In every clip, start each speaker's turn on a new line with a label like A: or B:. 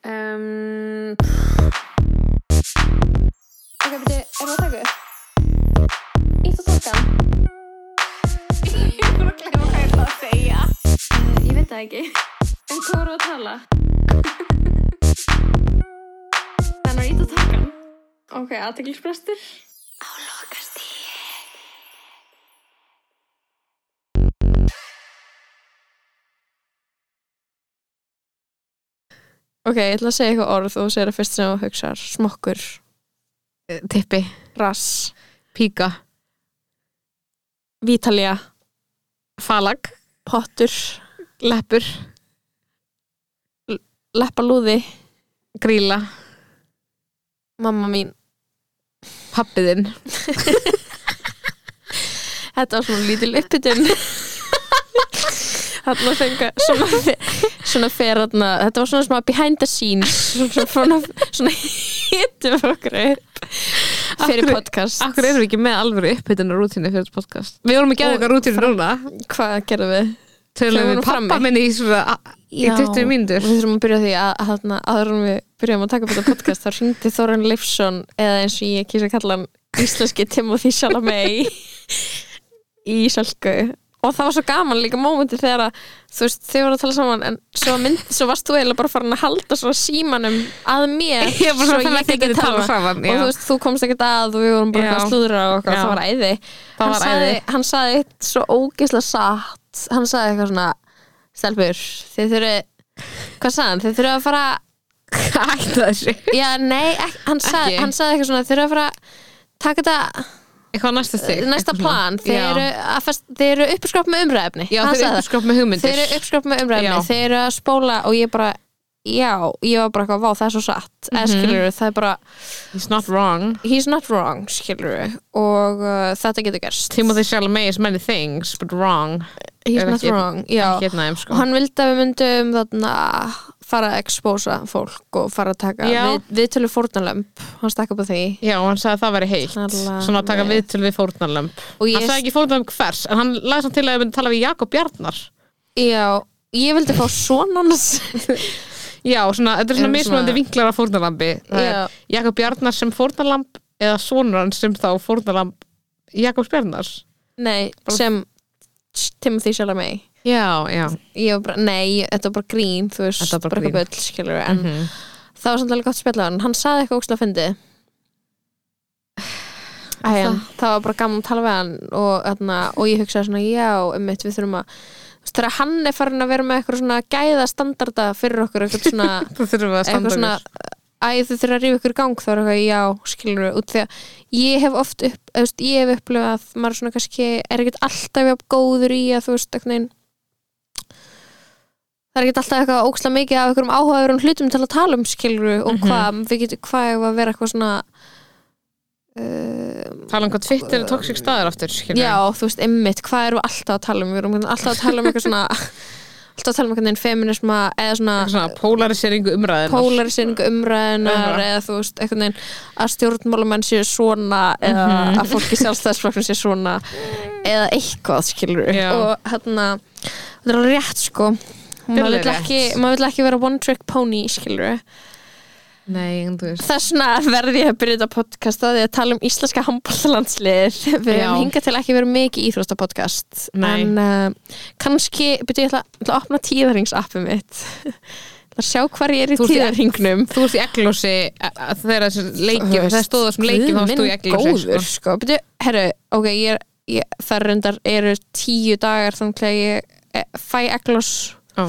A: Um, ok, beti, er það að taka upp? Ítt og tólka.
B: Ég voru að glemma hvað ég ætla að segja.
A: Uh, ég veit það ekki. En hvað voru að tala? Þannig að ítt og tólka. Ok, aðteglisbrestur.
B: Á lokastíði.
C: Ok, ég ætla að segja eitthvað orð og þú segir að fyrst sem þú hugsar smokkur, eh, tippi, rass, píka, vítalía, falag, pottur, leppur, l- leppalúði, gríla, mamma mín, pappiðinn. Þetta var svona lítil uppbytun. Þarna fengu svona, fe- svona fer þarna, þetta var svona smá behind the scenes, svona, svona, svona hittum við okkur upp fyrir
B: hverju-
C: podcast.
B: Akkur erum við ekki með alvöru upphittina rútínu fyrir þetta podcast? Við vorum að gera
C: Og-
B: eitthvað rútínu núna.
C: Hvað gerðum við? Þau
B: Tölum við
C: voru
B: pappa
C: frammi.
B: minni í svona í 20 mínútur.
C: Við þurfum að byrja á því að þarna, áður en við byrjum að taka upp þetta podcast þá hringdi Þorun Leifsson eða eins og ég kýsa að kalla hann íslenski Timothy Chalamet í Sölku og það var svo gaman líka mómenti þegar að þú veist þau voru að tala saman en svo, mynd, svo varst þú eiginlega bara farin að halda svona símanum að mér
B: Ég er
C: svo
B: bara svona þannig að þið getið talað saman.
C: og
B: já.
C: þú veist þú komst ekkert að og við vorum bara
B: Já.
C: eitthvað að slúðra og okkar
B: Já.
C: það var æði
B: Það
C: hann
B: var
C: sagði,
B: æði.
C: hann sagði eitt svo ógeðslega satt hann sagði eitthvað svona stelpur, þið þurfi hvað sagði hann, þið þurfi að fara
B: Ætta þessu.
C: já, nei, ek, hann, sagði,
B: Ekki.
C: hann sagði eitthvað svona þið þurfi að fara að taka þetta
B: Eitthvað á næsta stig.
C: næsta
B: Eitthvað svona.
C: plan, þið
B: Já.
C: eru, að fest, þið eru uppskropp með umræðefni
B: Já,
C: Hann
B: þeir eru
C: sagði það.
B: uppskróp með hugmyndir.
C: Þeir eru uppskrátt með umræðinni,
B: Já.
C: þeir eru að spóla og ég bara, já, ég var bara eitthvað, vá, það er svo satt, mm
B: Mhm.
C: skilur það er bara,
B: It's not wrong.
C: he's not wrong, skilur og uh, þetta getur gerst
B: Timothy Chalamet is many things, but wrong.
C: he's
B: er
C: not
B: ekki-
C: wrong, já
B: Ekki hérna,
C: og
B: sko.
C: hann vildi að við myndum þarna fara að expósa fólk og fara að taka
B: Já.
C: við, við tölum fórnalömp, hann stakk upp á því
B: Já, hann sagði að það væri heitt
C: Tala
B: Svona að taka
C: við.
B: viðtöl við fórnarlömb
C: Og ég-
B: Hann sagði ekki fórnarlömb hvers En hann lagði samt til að ég myndi tala við Jakob Bjarnar
C: já, ég vildi fá svona hans
B: Já, svona, þetta er
C: Erum
B: svona
C: svona-
B: mismunandi vinklar af fórnarlambi Það
C: Já.
B: er Jakob Bjarnar sem fórnarlamb Eða sonur hann sem þá fórnarlamb Jakobs Bjarnars
C: nei, sem Timothy Chalamet
B: Já, já
C: ég var bara, nei, þetta var bara grín þú veist,
B: Þetta var bara
C: eitthvað bull, skilur en
B: Mhm.
C: það var samt alveg gott spjall á hann hann saði eitthvað ógstlega fyndi
B: en-
C: það, það var bara gaman að tala við hann og, þarna, og ég hugsaði svona, já, ummitt við þurfum að þú veist, þegar hann er farin að vera með eitthvað svona gæða standarda fyrir okkur eitthvað svona
B: Það þurfum við að
C: eitthvað
B: standa
C: svona æ þau þurfa að rífa ykkur í gang þá er eitthvað já skilur við út því að ég hef oft upp, þú veist, ég hef upplifað að maður svona kannski er ekkert alltaf jafn góður í að þú veist eitthvað neginn það er ekkert alltaf eitthvað óksla mikið af einhverjum áhugaverum hlutum til að tala um skilur við og hvað við getum hvað ef að vera eitthvað svona uh,
B: við. Tala um hvað Twitter er toxic staður aftur skilur við.
C: já þú veist emmitt hvað erum við alltaf að tala um við erum alltaf að tala um eitthvað svona alltaf að tala um eitthvað neginn feminisma eða
B: Eitthvað Svona polariseringu umræðin
C: polariseringu umræðinar
B: Aha.
C: eða þú veist, einhvern veginn að stjórnmálumenn séu svona eða
B: Mhm.
C: að fólki sjálfstæðsflokknum séu svona eða eitthvað skilur
B: Já.
C: og hérna, þetta er alveg rétt sko maður
B: alveg
C: vill,
B: rétt.
C: ekki, maður vill ekki vera one trick pony skilur
B: Nei, en þú veist
C: þess vegna verði ég að byrja þetta podcast að því að tala um íslenska handbóltalandslið við
B: Já.
C: hefum hingað til ekki verið mikið íþrósta podcast
B: Nei.
C: en uh, kannski, byrju ég ætla, ætla að opna tíðarhingsappið mitt Ætla að sjá hvar ég er í
B: Þú ert í-
C: tíðarhingnum
B: Þú veist í eglósi þegar þessi
C: Þú
B: leikjum,
C: veist,
B: það stóðu þessum leikjum þá
C: guð
B: stóðu
C: minn
B: í eglósi sko.
C: góður, sko. Byrju, herru, ok, ég er ég, það reyndar eru tíu dagar þannig að ég eh, fæ eglos
B: Ó.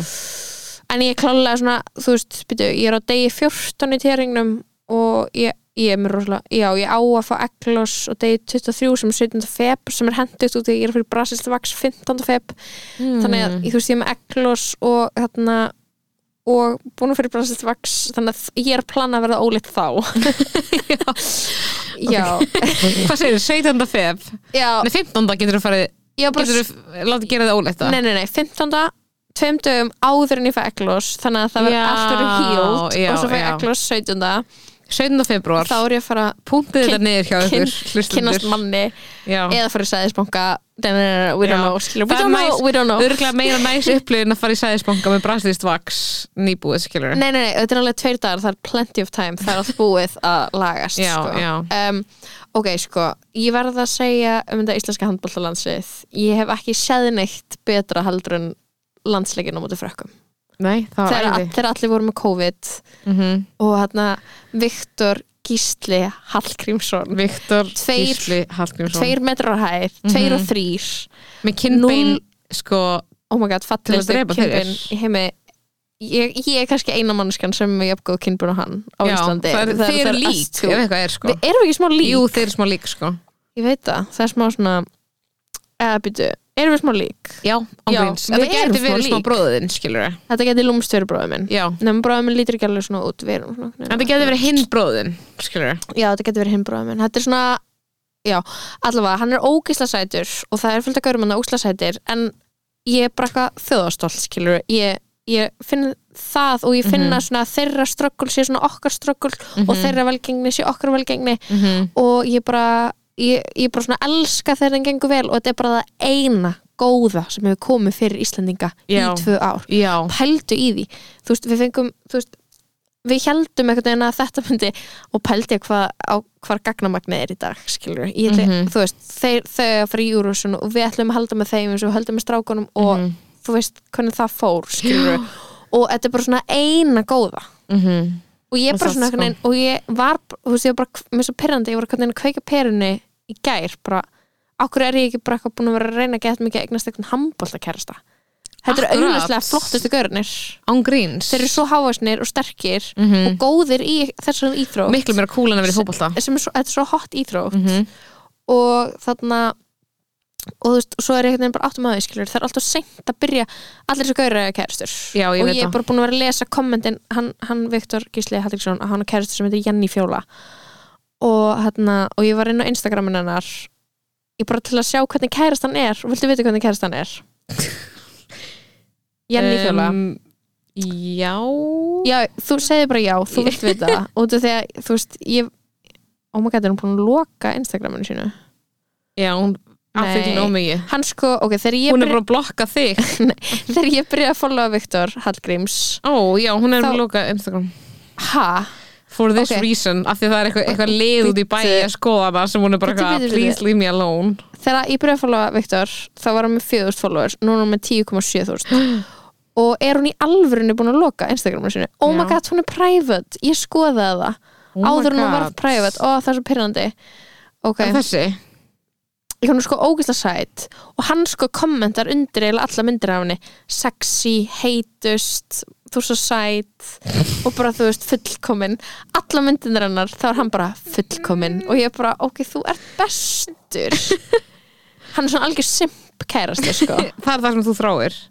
C: en ég klálega svona, þú veist, byrju, ég er á degi 14 í tjæringnum og ég, ég er mér rosalega, já, ég á að fá eglos á degi 23 sem er 17. feb sem er hendugt út í, ég er fyrir Brasilst Vax 15. feb, þannig að þú veist, ég er með eglos og þarna og búin að fyrir Brasilst Vax þannig að ég er að plana að verða ólitt þá já,
B: Hvað segir þið, 17. feb?
C: já,
B: Nei, 15. getur þú farið
C: já bara
B: getur þú látið gera það óleitt það?
C: nei, nei, nei, 15. tveim dögum áður en ég fæ eglos þannig að það verður
B: Já,
C: allt verður hílt
B: já,
C: og svo fæ ég
B: já.
C: eglos 17.
B: 17. februar
C: þá er ég að fara að
B: Punktið þetta
C: kyn-
B: niður hjá
C: kyn-
B: ykkur
C: kynnast
B: hlustendur.
C: manni
B: Já.
C: eða fara í sæðisbanka Nei, nei, nei, we don't
B: Já.
C: know, skilur, we
B: Það er
C: don't know,
B: nice-
C: we don't know
B: Örglega meira næs upplifin að fara í sæðisbanka með braslist vaks nýbúið skilur
C: Nei, nei, nei, þetta er alveg tveir dagar, það er plenty of time það er allt búið að lagast
B: Já,
C: sko.
B: já.
C: Um, Ok, sko, ég verð að segja um þetta íslenska handbóltalandsið ég hef ekki séð neitt betra heldur en landsleikinn á móti frökkum
B: Nei, það var
C: þegar, all,
B: æði
C: þegar allir voru með COVID
B: mm
C: og hérna Viktor Gísli Hallgrímsson
B: Viktor
C: Tveir-
B: Gísli Hallgrímsson Mhm.
C: tveir metrar hær, tveir og þrýr
B: með kinnbein
C: Núll-
B: sko,
C: oh my god,
B: Til að
C: fallegustu
B: drepa
C: kynbun
B: fyrir.
C: í heimi ég, ég er kannski eina mannskan sem er jafngóð kynbun og hann á
B: já,
C: Íslandi
B: það er, þeir eru lík
C: astú-
B: ef eitthvað er sko
C: Við erum við ekki smá lík?
B: Jú, þeir eru smá lík sko
C: Ég veit það, það er smá svona eða byrju, erum við smá lík?
B: Já,
C: Já,
B: ángríns
C: við
B: Þetta
C: erum
B: gæti
C: smá
B: verið smá
C: lík.
B: bróðin skilur við
C: Þetta geti lúmst verið bróðið minn
B: Já,
C: Nefnum bróðið minn lítur ekki alveg svona út við erum svona
B: þetta gæti verið hinn bróðin skilur við
C: Já, þetta geti verið hinn bróðið minn Þetta er svona, já, allavega hann er ógisla sætur og það er fullt að gaurum hann ógisla sætir en ég er bara eitthvað þjóðastóll, skilur ég, ég finn það og ég finna
B: Mhm.
C: svona að þeirra ströggul sé svona okkar ströggul og þeirra velgengni sé okkar velgengni
B: Mhm.
C: og ég bara ég, ég bara svona elska þegar þeim gengur vel og þetta er bara það eina góða sem hefur komið fyrir Íslendinga
B: Já.
C: í tvö ár
B: Já,
C: pældu í því, þú veist, við fengum þú veist, við heldum einhvern veginn að þetta myndi og pældi ég hvað á hvar gagnamagnið er í dag, skilur ég, ætla,
B: Mhm.
C: þú veist, þeir, þeir að fara í Eurovision og við ætlum að halda með þeim eins og við höldum með strákunum og
B: Mhm.
C: þú veist hvernig það fór, skilur og þetta er bara svona eina góða
B: mhm
C: og ég
B: Og
C: bara
B: það,
C: svona
B: sko.
C: einhvern veginn og ég var, þú veist, ég var bara mér er svo pyrrandi, ég var hvernig að kveika perunni í gær, bara, okkur er ég ekki bara eitthvað búin að vera að reyna að geta mikið að eignast eitthvað handbólta kærasta þetta eru
B: Akkurat.
C: auðvitað flottustu görnir
B: Ángríns
C: þeir eru svo hávaksnir og sterkir og góðir í þessum íþrótt
B: Mhm. Miklu meira kúl en að vera í fótbolta
C: sem er svo, þetta er svo hot íþrótt
B: Mhm.
C: og þarna og þú veist, svo er einhvern veginn bara áttum að þau skilur það er alltaf seint að byrja allir þessu gaurar eða kæristur
B: Já, ég
C: og
B: veit
C: ég er
B: það.
C: bara búin að vera að lesa kommentin hann, hann Viktor Gísli Hallíksson að hann er kæristur sem heitir Jenny Fjóla og, hérna, og ég var inn á Instagramin hennar ég bara til að sjá hvernig kærast hann er og viltu vita hvernig kærast hann er Jenny Fjóla
B: Um, Já
C: já, þú segði bara já, þú vilt vita það út af því að, þú veist, ég oh my god, er hún búin að loka Instagraminu sínu
B: Já, hún aðfylgir
C: Nei.
B: nóg mikið
C: hann sko, ok, þegar ég
B: Hún er
C: byrja,
B: bara að blokka þig
C: þegar ég byrja að followa Viktor Hallgríms
B: Ó, já, hún er
C: Þá-
B: að loka Instagram
C: ha,
B: For this
C: Ok.
B: reason, af því það er eitthvað eitthva lið út í bæi
C: Bíddu.
B: að skoða það sem hún er bara
C: Bíddu,
B: eitthvað
C: bíddu, bíddu.
B: Please leave me alone
C: þegar ég byrja að followa Viktor þá var hann með 4.000 followers, núna er hann með 10.7.000 og er hún í alvörinu búin að loka Instagraminu sínu oh my
B: Já.
C: god, hún er private, ég skoðaði það
B: Oh my
C: áður en hún var
B: God.
C: private, ó það er svo pyrrandi ok,
B: Er Þessi,
C: hún er sko ógislega sætt og hann sko kommentar undir eiginlega alla myndir af henni sexy, heitust þú er svo sætt og bara þú veist fullkomin alla myndir hennar þá er hann bara fullkomin og ég bara ok, þú ert bestur hann er svona algjör simp kærasti sko
B: það er það sem þú þráir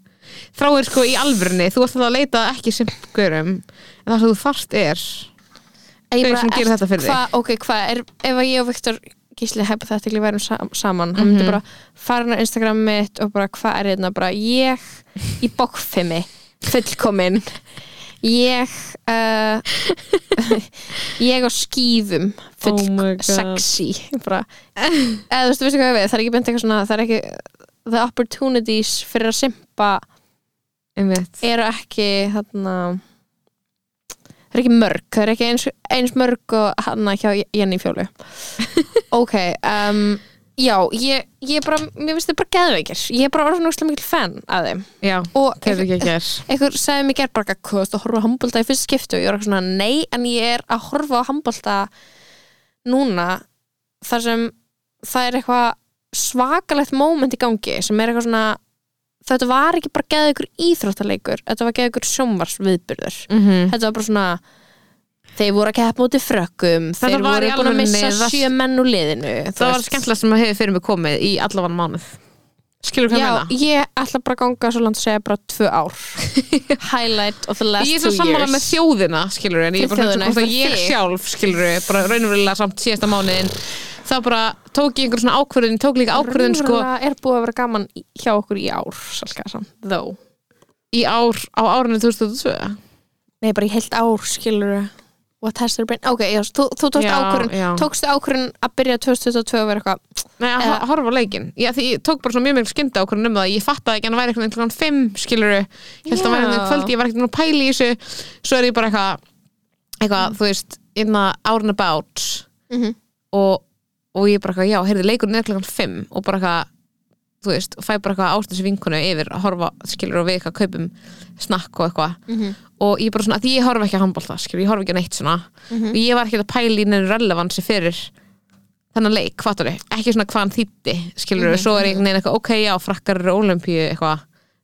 B: Þráir sko í alvörni, þú ert alltaf að leita ekki simpgurum En það sem þú þarft er
C: En ég
B: Hver
C: bara,
B: sem gerir
C: ert-
B: þetta fyrir þig?
C: hva, ok, hvað, er, ef að ég og Viktor Gísli hefði þetta ekki værum sam, saman hann myndi
B: Mhm.
C: bara fara hann á Instagram mitt og bara hvað er þetta, bara ég í bókfimi, fullkomin ég uh, ég á skýfum full
B: Oh my God.
C: sexy bara, eða þú veist, veistu hvað ég við það er ekki beint eitthvað svona, það er ekki the opportunities fyrir að simpa
B: Einmitt
C: eru ekki þarna það er ekki mörg, það er ekki eins, eins mörg og hanna hjá Jenny Fjólu ok um, já, ég, ég bara mér finnst þið bara geðveikir, ég er bara orðin úrslega mikil fan að þeim
B: Já,
C: og
B: þeir eru
C: einhver,
B: ekki að gera
C: einhver sagði mér gerð bara eitthvað, hvað þú horfa á handbólta í fyrst skiptu og ég var eitthvað svona, nei, en ég er að horfa á handbólta núna þar sem það er eitthvað svakalegt moment í gangi sem er eitthvað svona þetta var ekki bara geða ykkur íþróttaleikur þetta var geða ykkur sjónvarsviðburður
B: Mhm.
C: þetta var bara svona þeir voru að keppa út í frökkum
B: Þetta
C: þeir voru
B: var
C: búin
B: í
C: að
B: alvörunni,
C: missa
B: það-
C: sjö menn úr liðinu þú
B: Það var
C: veist.
B: skemmtilega sem að hefur fyrir mig komið í allafann mánuð Skilur hvað
C: Já,
B: ég meina?
C: ég ætla bara að ganga svo langt að segja bara tvö ár highlight of the last
B: ég er
C: two
B: svo
C: years
B: sammála með þjóðina skilur en ég er
C: Fyrir
B: bara að hugsa
C: þjóðina,
B: hvort að
C: fyrir
B: ég
C: þig.
B: sjálf skilur bara raunverulega samt síðasta mánuðin þá bara tók ég einhver svona ákvörðin tók líka ákvörðin sko
C: Raunverulega er búið að vera gaman í- hjá okkur í ár salka, samt, þó
B: í sko, ár á árinu 2002
C: Nei, bara í heilt ár skilur what has their brain, ok, já, þú, þú tókst
B: Já,
C: ákvörun
B: já.
C: tókstu ákvörun að byrja 2022 og vera eitthvað,
B: Nei, að
C: Eða-
B: uh, horfa á leikin Já, því ég tók bara svo mjög mjög skynda okkur um það Ég fattaði ekki að hann væri eitthvað klokkan 5 skiluru Ég held að hann væri
C: Já.
B: eitthvað kvöldi, ég var ekkert nú pæli í þessu Svo er ég bara eitthvað eitthvað, þú veist, inna out and about
C: Mhm.
B: og, og ég bara eitthvað, já, heyrði leikurinn er klokkan 5 og bara eitthvað, þú veist og fæ bara eitthvað ástæðs vinkunu yfir að horfa skilur og við eitthvað kaupum snakk og eitthvað
C: Mhm.
B: og ég bara svona, því ég horfa ekki að handbólta skilur, ég horfa ekki að neitt svona
C: Mhm.
B: og ég var ekki að pæla í neinu relevansi fyrir þennan leik, hvað þú ekki svona hvað hann þýtti, skilur
C: Mhm,
B: svo er ég neina eitthvað, ok, já, frakkar eru ólimpíu eitthvað,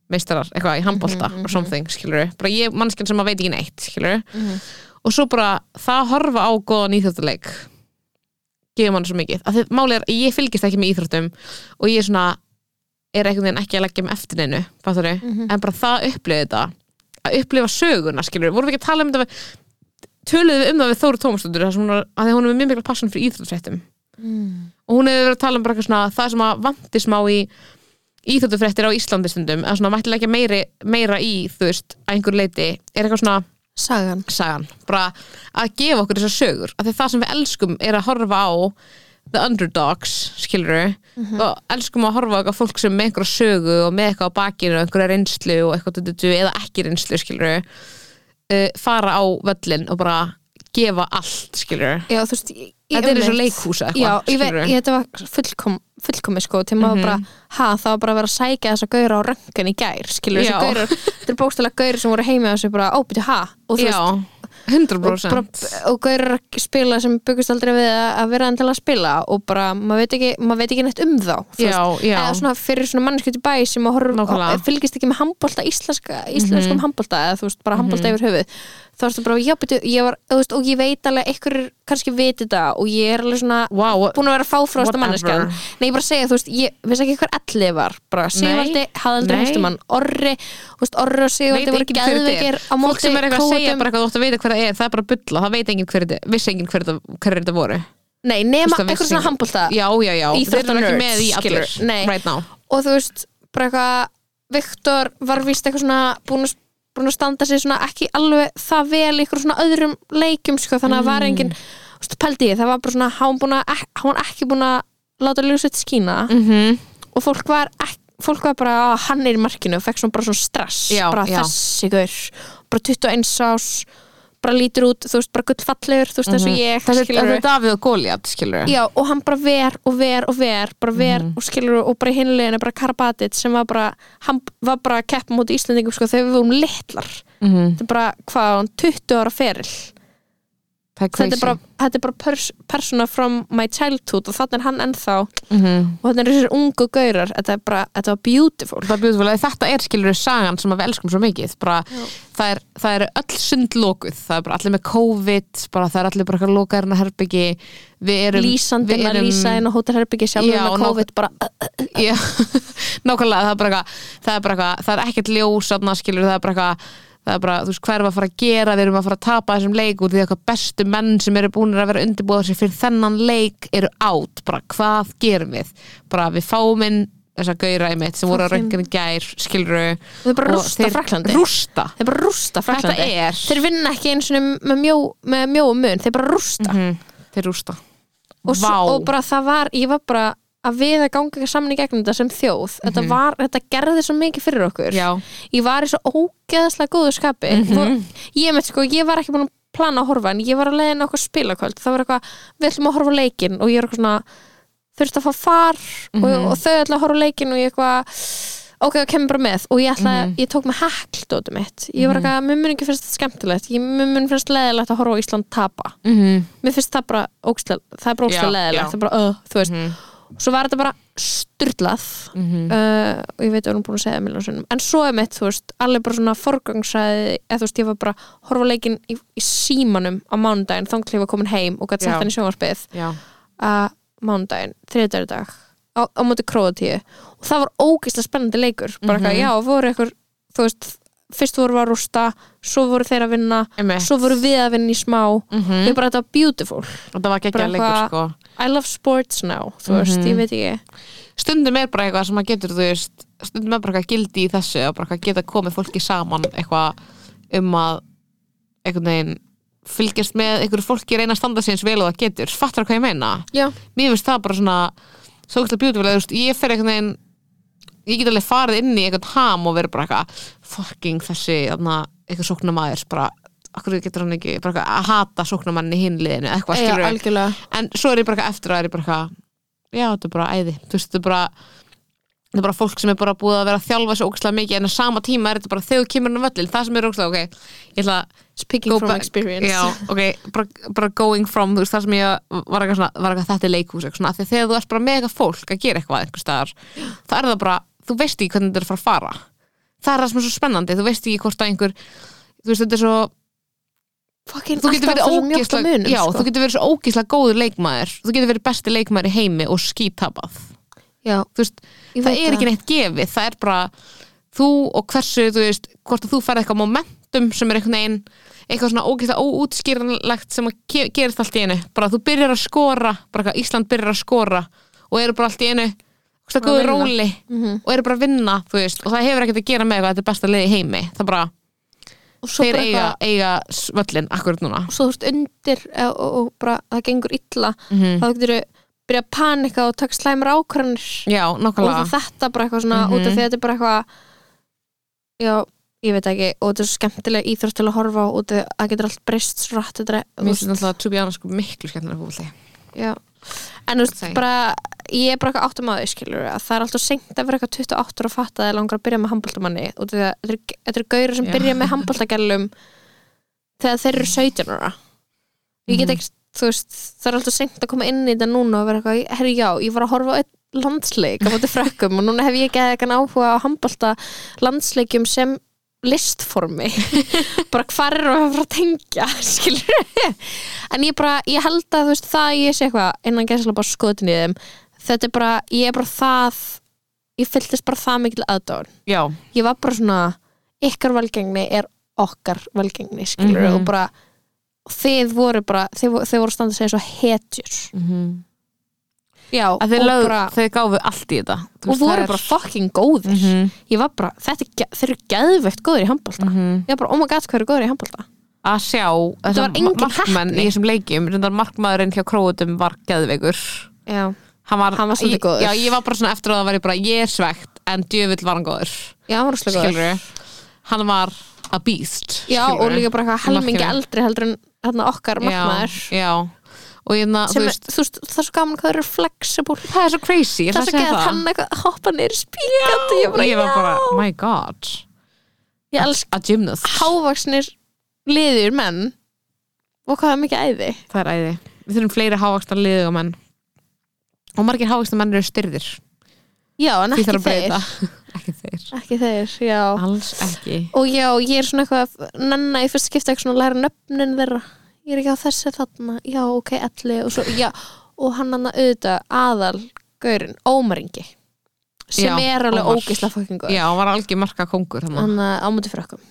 B: meistarar, eitthvað í handbólta or something, skilur bara ég, mannskinn sem að veit ekki neitt, skilur
C: Mhm.
B: og svo bara, það að horfa á góðan íþjóttaleik gefur mann svo mikið, af því máli er, að ég fylgist ekki með íþróttum og ég er svona er einhvern veginn ekki að leggja mig eftir neinu fattari, en bara það að upplifa þetta að upplifa söguna, skilur, vorum við ekki að tala um þetta við- töluðum við um það við Þóru Tómasdóttur þar sem hún var, að því hún er með mjög mikil passion fyrir íþróttfréttum
C: "Mm,
B: og hún hefur verið að tala um bara eitthvað svona það sem að vanti smá í íþróttfréttir á Íslandi stundum, að svona mætti leggja meiri, meira í, þú veist, að einhver leiti er eitthvað svona
C: sagan
B: sagan, bara að gefa okkur þessar sögur, af því það sem við elskum er að horfa á the underdogs skilur
C: Mhm.
B: og elskum að horfa á eitthvað fólk sem er með einhverja sögu og með eitthvað á bakinu og einhverja reynslu og eitthvað tuttutu eða ekki reynslu skilur uh, fara á völlin og bara gefa allt skilur
C: já, þú veist, ég, ég-
B: þetta er eins og
C: einmitt.
B: leikhús eða
C: Já,
B: eitthvað
C: ég veit,
B: skilurðu.
C: ég, þetta var fullkom, fullkomi sko til maður bara, ha, það var bara að vera að sækja þessa gauður á röngan í gær skilur
B: Já.
C: þessa gauður, þetta er bókstælega gauður sem voru heimi á þessu bara, ó, byrju, ha og þú veist,
B: já, 100%
C: bara, og gauður að spila sem byggust aldrei við að að vera endilega að spila og bara, maður veit ekki, maður veit ekki neitt um þá þú
B: já,
C: veist.
B: já,
C: eða svona fyrir svona mannskjöld í bæ sem að horfa,
B: Nákvæmlega. Mhm.
C: að fylgist ekki með handbolta íslenska, íslenskum mm eða þú veist, bara handbolta yfir höfuð þá erstu bara, já, byrju, ég var, þú veist, og ég veit alveg, einhverjur kannski viti þetta og ég er alveg svona
B: wow,
C: búin að vera fáfrósta manneskjan
B: Whatever.
C: Nei, ég bara segja, þú veist, ég veist ekki hver allir var bara Sigvaldi, Haðaldri
B: nei.
C: Hestum hann Orri, þú veist, Orri og
B: veit
C: Sigvaldi voru
B: enginn hver þetta
C: geðveikir
B: er
C: á
B: fólk
C: móti
B: sem er eitthvað að segja
C: kóðum
B: bara eitthvað þú ætti að veita hver það er, það er bara að bulla það veit enginn hver þetta, vissi enginn hver þetta, hver þetta voru
C: Nei,
B: Þú
C: nema
B: veist, það
C: eitthvað
B: vissi
C: svona
B: enginn.
C: handbólta
B: já, já, já, þeir eru ekki
C: Íþróttanerds,
B: með í allir
C: skilur. Nei. Mhm.
B: right now
C: og þú veist, bara eitthvað Viktor var víst eitthvað svona búin að búin að standa sig svona ekki alveg það vel í ykkur svona öðrum leikjum sko, þannig að það var
B: Mm.
C: engin, þú veist, pældi ég það var bara svona, hann, búin að, hann var ekki búin að láta ljósveit skína
B: mm -hmm.
C: og fólk var, ek- fólk var bara að hann er í markinu og fekk svona bara svona stress
B: Já,
C: bara
B: já.
C: þessi gaur, bara 21 ás bara lítur út, þú veist, bara gullfallegur þú veist, eins og
B: Mhm.
C: ég,
B: þetta er
C: skilurðu.
B: Davíð og Góliat, skilur
C: Já, og hann bara ver og ver og ver bara ver
B: Mhm.
C: og skilur og bara í hinleginu bara Karabatit sem var bara hann var bara að keppa múti Íslendingum sko þegar við vorum litlar
B: -hmm.
C: þetta er bara, hvað, hann 20 ára feril þetta er bara, þetta er bara pers persona from my childhood og þannig er hann ennþá
B: mm -hmm.
C: og þannig er þessir ungu gaurar þetta er bara, þetta var beautiful
B: það er beautiful, að þetta er skilur sagan sem að við elskum svo mikið bara, það, er, það er öll sund lokuð það er bara allir með COVID bara, það er allir bara lokaðurinn að herbyggi við erum
C: lýsandi
B: við
C: með
B: erum-
C: lýsa inn á hótelherbyggi sjálfur
B: Já,
C: með
B: ná-
C: COVID bara
B: Já, nákvæmlega, það er bara eitthvað það er bara eitthvað, það er ekkert ljós þarna, skilur, það er bara eitthvað það er bara, þú veist, hvað erum við að fara að gera við erum að fara að tapa þessum leik út því að eitthvað bestu menn sem eru búinir að vera undirbúða sér fyrir þennan leik eru átt, bara hvað gerum við, bara við fáum inn þessa gauðra í mitt sem voru að
C: Fucking-
B: röngin gær, skilur
C: Þau bara rústa Frakklandi.
B: rústa,
C: þeir bara rústa Fraklandi
B: Þetta er-
C: þeir vinna ekki eins og með mjó með mjóum mun, þeir bara rústa
B: mm, þeir rústa
C: og, svo,
B: Vá.
C: og bara það var, ég var bara að við að ganga saman í gegnum þetta sem þjóð þetta, var, þetta gerði svo mikið fyrir okkur
B: Mhm. Já,
C: ég var í svo ógeðaslega góðu skapi
B: Mhm.
C: mm ég með sko, ég var ekki búin að plana að horfa en ég var að leiðin okkur spilakvöld það var eitthvað, við ætlum að horfa á leikinn og ég er eitthvað svona, þurfti að fá far
B: Mhm.
C: og, og þau ætla að horfa á leikinn og ég eitthvað ok, það kemur bara með og ég, ætla,
B: Mhm.
C: ég tók með hackldótu mitt ég var eitthvað, mér mun ekki finnst þetta skemmtilegt ég, mér mun finnst leðilegt að horfa á Ísland tapa
B: mm
C: mér finnst það bara ógstlega, það er bara ógstlega
B: Já,
C: leðilegt
B: já.
C: það er bara, uh, þú veist
B: Mhm.
C: svo var þetta bara styrlað uh, og ég veit að hún er búin að segja það milljón sinnum. en svo er mitt, þú veist, allir bara svona forgangsæði, eða þú veist, ég var bara að horfa á leikinn í, í símanum á mánudaginn þannig að ég var komin heim og gætt
B: Já.
C: sett hann í sjónvarpið
B: já
C: að mánudaginn, þriðdagur dag á, á móti króðatíu og það var ógeðslega spennandi leikur bara eitthvað,
B: Mhm.
C: já, voru eitthvað, þú veist fyrst voru við að rústa, svo voru þeir að vinna
B: Einmitt.
C: svo voru við að vinna í smá
B: mm
C: ég bara þetta var beautiful
B: og það var ekki
C: Bara
B: að leikur
C: eitthvað-
B: sko
C: I love sports now, þú veist, ég veit ekki
B: stundum er bara eitthvað sem maður getur þú veist, stundum er bara eitthvað gildi í þessu og bara eitthvað geta komið fólki saman eitthvað um að einhvern veginn fylgjast með einhverju fólki reyna að standa sig eins vel og það getur fattar hvað ég meina
C: já,
B: mér finnst það bara svona svo ekki beautiful að þú veist, ég fer einhvern veginn ég get alveg farið inn í eitthvað ham og verið bara eitthvað fucking þessi þarna, eitthvað sóknamaður bara, akkur getur hann ekki bara eitthvað að hata sóknamanni hinliðinu
C: já,
B: eitthvað skilur
C: algjörlega
B: en svo er ég bara eitthvað eftir að er ég bara eitthvað já, þetta er bara æði, þú veist, þetta er bara þetta er bara fólk sem er bara búið að vera að þjálfa svo ógæslega mikið en á sama tíma er þetta bara þegar þú kemur hann á völlin, það sem er ógæslega, ok ég ætla að
C: Speaking
B: Go
C: from
B: back.
C: experience
B: Já, ok, bara, bara going from þú veist það sem ég var eitthvað svona, var eitthvað þetta er leikhús eitthvað svona, af því að þegar þú ert bara með eitthvað fólk að gera eitthvað einhvers staðar, þá er það bara þú veist ekki hvernig þetta er að fara að fara það er það sem er svo spennandi, þú veist ekki hvort að einhver þú veist þetta er svo
C: Fucking
B: þú getur
C: alltaf
B: verið
C: þessum mjótt á
B: ógislega,
C: munum,
B: já,
C: sko.
B: þú getur verið svo ógislega góður leikmaður, þú getur verið besti leikmaður í heimi og skítabað
C: já,
B: þú veist,
C: Ég
B: það
C: veit
B: er
C: það.
B: ekki neitt gefið það er bara þú og hversu þú veist, hvort að þú færð eitthvað momentum sem er einhvern veginn eitthvað svona ógeðslega óútskýranlegt sem að ge gerist allt í einu, bara þú byrjar að skora bara eitthvað, Ísland byrjar að skora og eru bara allt í einu
C: Bara
B: góðu
C: vinna.
B: róli
C: Mhm.
B: og eru bara að vinna þú veist, og það hefur ekkert að gera með eitthvað þetta er besta liði í heimi, það bara
C: og svo
B: þeir
C: bara
B: eiga,
C: eitthvað
B: eiga völlin akkurat núna
C: og svo þú ert undir eh, og, og bara það gengur illa
B: mm
C: þá getur þau byrja að panika og taka slæmur ákvarðanir
B: já,
C: og
B: nákvæmlega
C: það þetta bara eitthvað svona
B: Mhm.
C: út af því að þetta er bara eitthvað já, ég veit ekki og þetta er svo skemmtilega íþrótt til að horfa á út af því að það getur allt breyst svo rætt þetta er, þú
B: mér finnst
C: veist,
B: alltaf að Tubi Anna sko miklu skemmtilega fólki
C: já. en þú
B: Same.
C: veist bara ég er bara eitthvað áttum að þau skilur að það er alltaf seint að vera eitthvað 28 og fatta að það er langar að byrja með handbóltamanni og þetta eru- þetta eru gauður sem
B: Já.
C: byrja með handbóltagælum þegar þeir eru 17 ára ég get
B: Mhm.
C: ekki, þú veist það er alltaf seint að koma inn í þetta núna og vera eitthvað, herri já, ég var að horfa á einn landsleik á móti frökkum og núna hef ég ekki eitthvað áhuga á handbólta landsleikjum sem listformi bara hvar erum við að fara að tengja skilur en ég bara, ég held að þú veist það að ég sé eitthvað innan gæsla bara skotin í þeim þetta er bara, ég er bara það ég fylltist bara það mikil aðdán
B: já,
C: ég var bara svona, ykkar velgengni er okkar velgengni skilur
B: Mhm.
C: og bara þið voru bara, þið, vo- þið voru að standa að segja svo hetjur
B: mm -hmm.
C: já, og,
B: að þeir, lög,
C: bara,
B: þeir gáfu allt í þetta Þú
C: og
B: veist, það
C: voru
B: er-
C: bara fucking góðir
B: Mhm,
C: ég var bara, þetta er, ge- þeir eru geðveikt góðir í handbólta
B: mhm.
C: ég var bara, oh my god, hvað eru góðir í handbólta
B: að sjá
C: Þetta
B: þessa
C: var engin
B: markmenn
C: heppni.
B: í þessum leikjum reyndar markmaðurinn hjá króutum var geðveikur
C: já,
B: hann var,
C: Hann var svolítið
B: ég-
C: góður.
B: já, ég var bara svona eftir að það var ég bara ég er svegt en djöfull var hann góður
C: já, hann var rosalega góður
B: skilur hann var a beast
C: Já, og
B: skilurðu.
C: líka bara eitthvað
B: Markinu.
C: helmingi eldri heldur en þarna okkar markmaður
B: já, já. og ég það
C: sem
B: þú
C: er,
B: veist
C: þú veist, það er svo gaman hvað það eru flexible
B: það er svo crazy ég
C: það
B: ætla
C: er
B: að
C: svo
B: segja
C: geðað
B: það
C: hann eitthvað hoppa neyri spíkandi ég, bara,
B: ég var bara,
C: já.
B: my god
C: ég elsk
B: a gymnast,
C: hávaksnir liður menn og hvað er mikið æði
B: það er æði við þurfum fleiri hávaksna liðuga menn og margir hávaksna menn eru styrðir
C: já, en
B: því
C: ekki
B: þarf
C: þeir
B: að breyta ekki þeir,
C: ekki þeir, já
B: alls ekki
C: og já, ég er svona eitthvað að nanna í fyrst skipta eitthvað svona að læra nöfnin þeirra ég er ekki á þessi þarna, já, ok, elli og svo, já, og hann hann auðvitað aðal gaurinn, ómaringi sem
B: Já,
C: er alveg
B: Ómar.
C: ógisla fokkingu
B: já, hann var algjör marka kongur hann
C: hann eh, ámúti fyrir okkur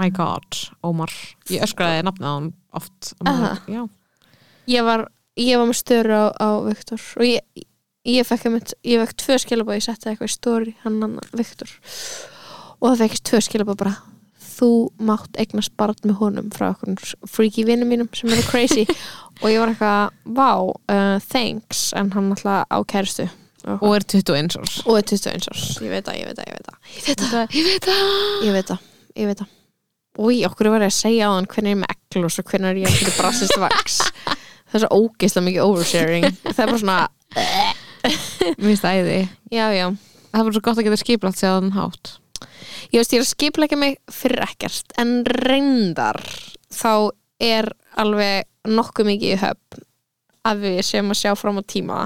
B: my god, Ómar ég öskraði nafnið á hann oft
C: Aha.
B: já,
C: ég var, ég var með störu á, á Viktor og ég, ég fekk einmitt, ég fekk tvö skilabóð, ég setti eitthvað í stóri hann hann Viktor og það fekkist tvö skilabóð bara þú mátt eignast barn með honum frá okkur freaky vinnum mínum sem eru crazy og ég var eitthvað, vá uh, thanks, en hann alltaf á kæristu
B: og er 21 árs
C: og er 21 árs, ég veit það, ég veit það, ég veit það ég
B: ég veit það
C: veit það, ég veit það Úi, okkur var ég að segja á hann hvernig er ég með eklos og hvernig er ég fyrir brassist vaks það er svo ógeislega mikið oversharing það er bara svona,
B: mér finnst það æði,
C: já, já
B: það var svo gott að geta skiplað sér hann hátt
C: ég veist, ég er að skipleika mig fyrir ekkert en reyndar þá er alveg nokkuð mikið í höfn að við séum að sjá fram á tíma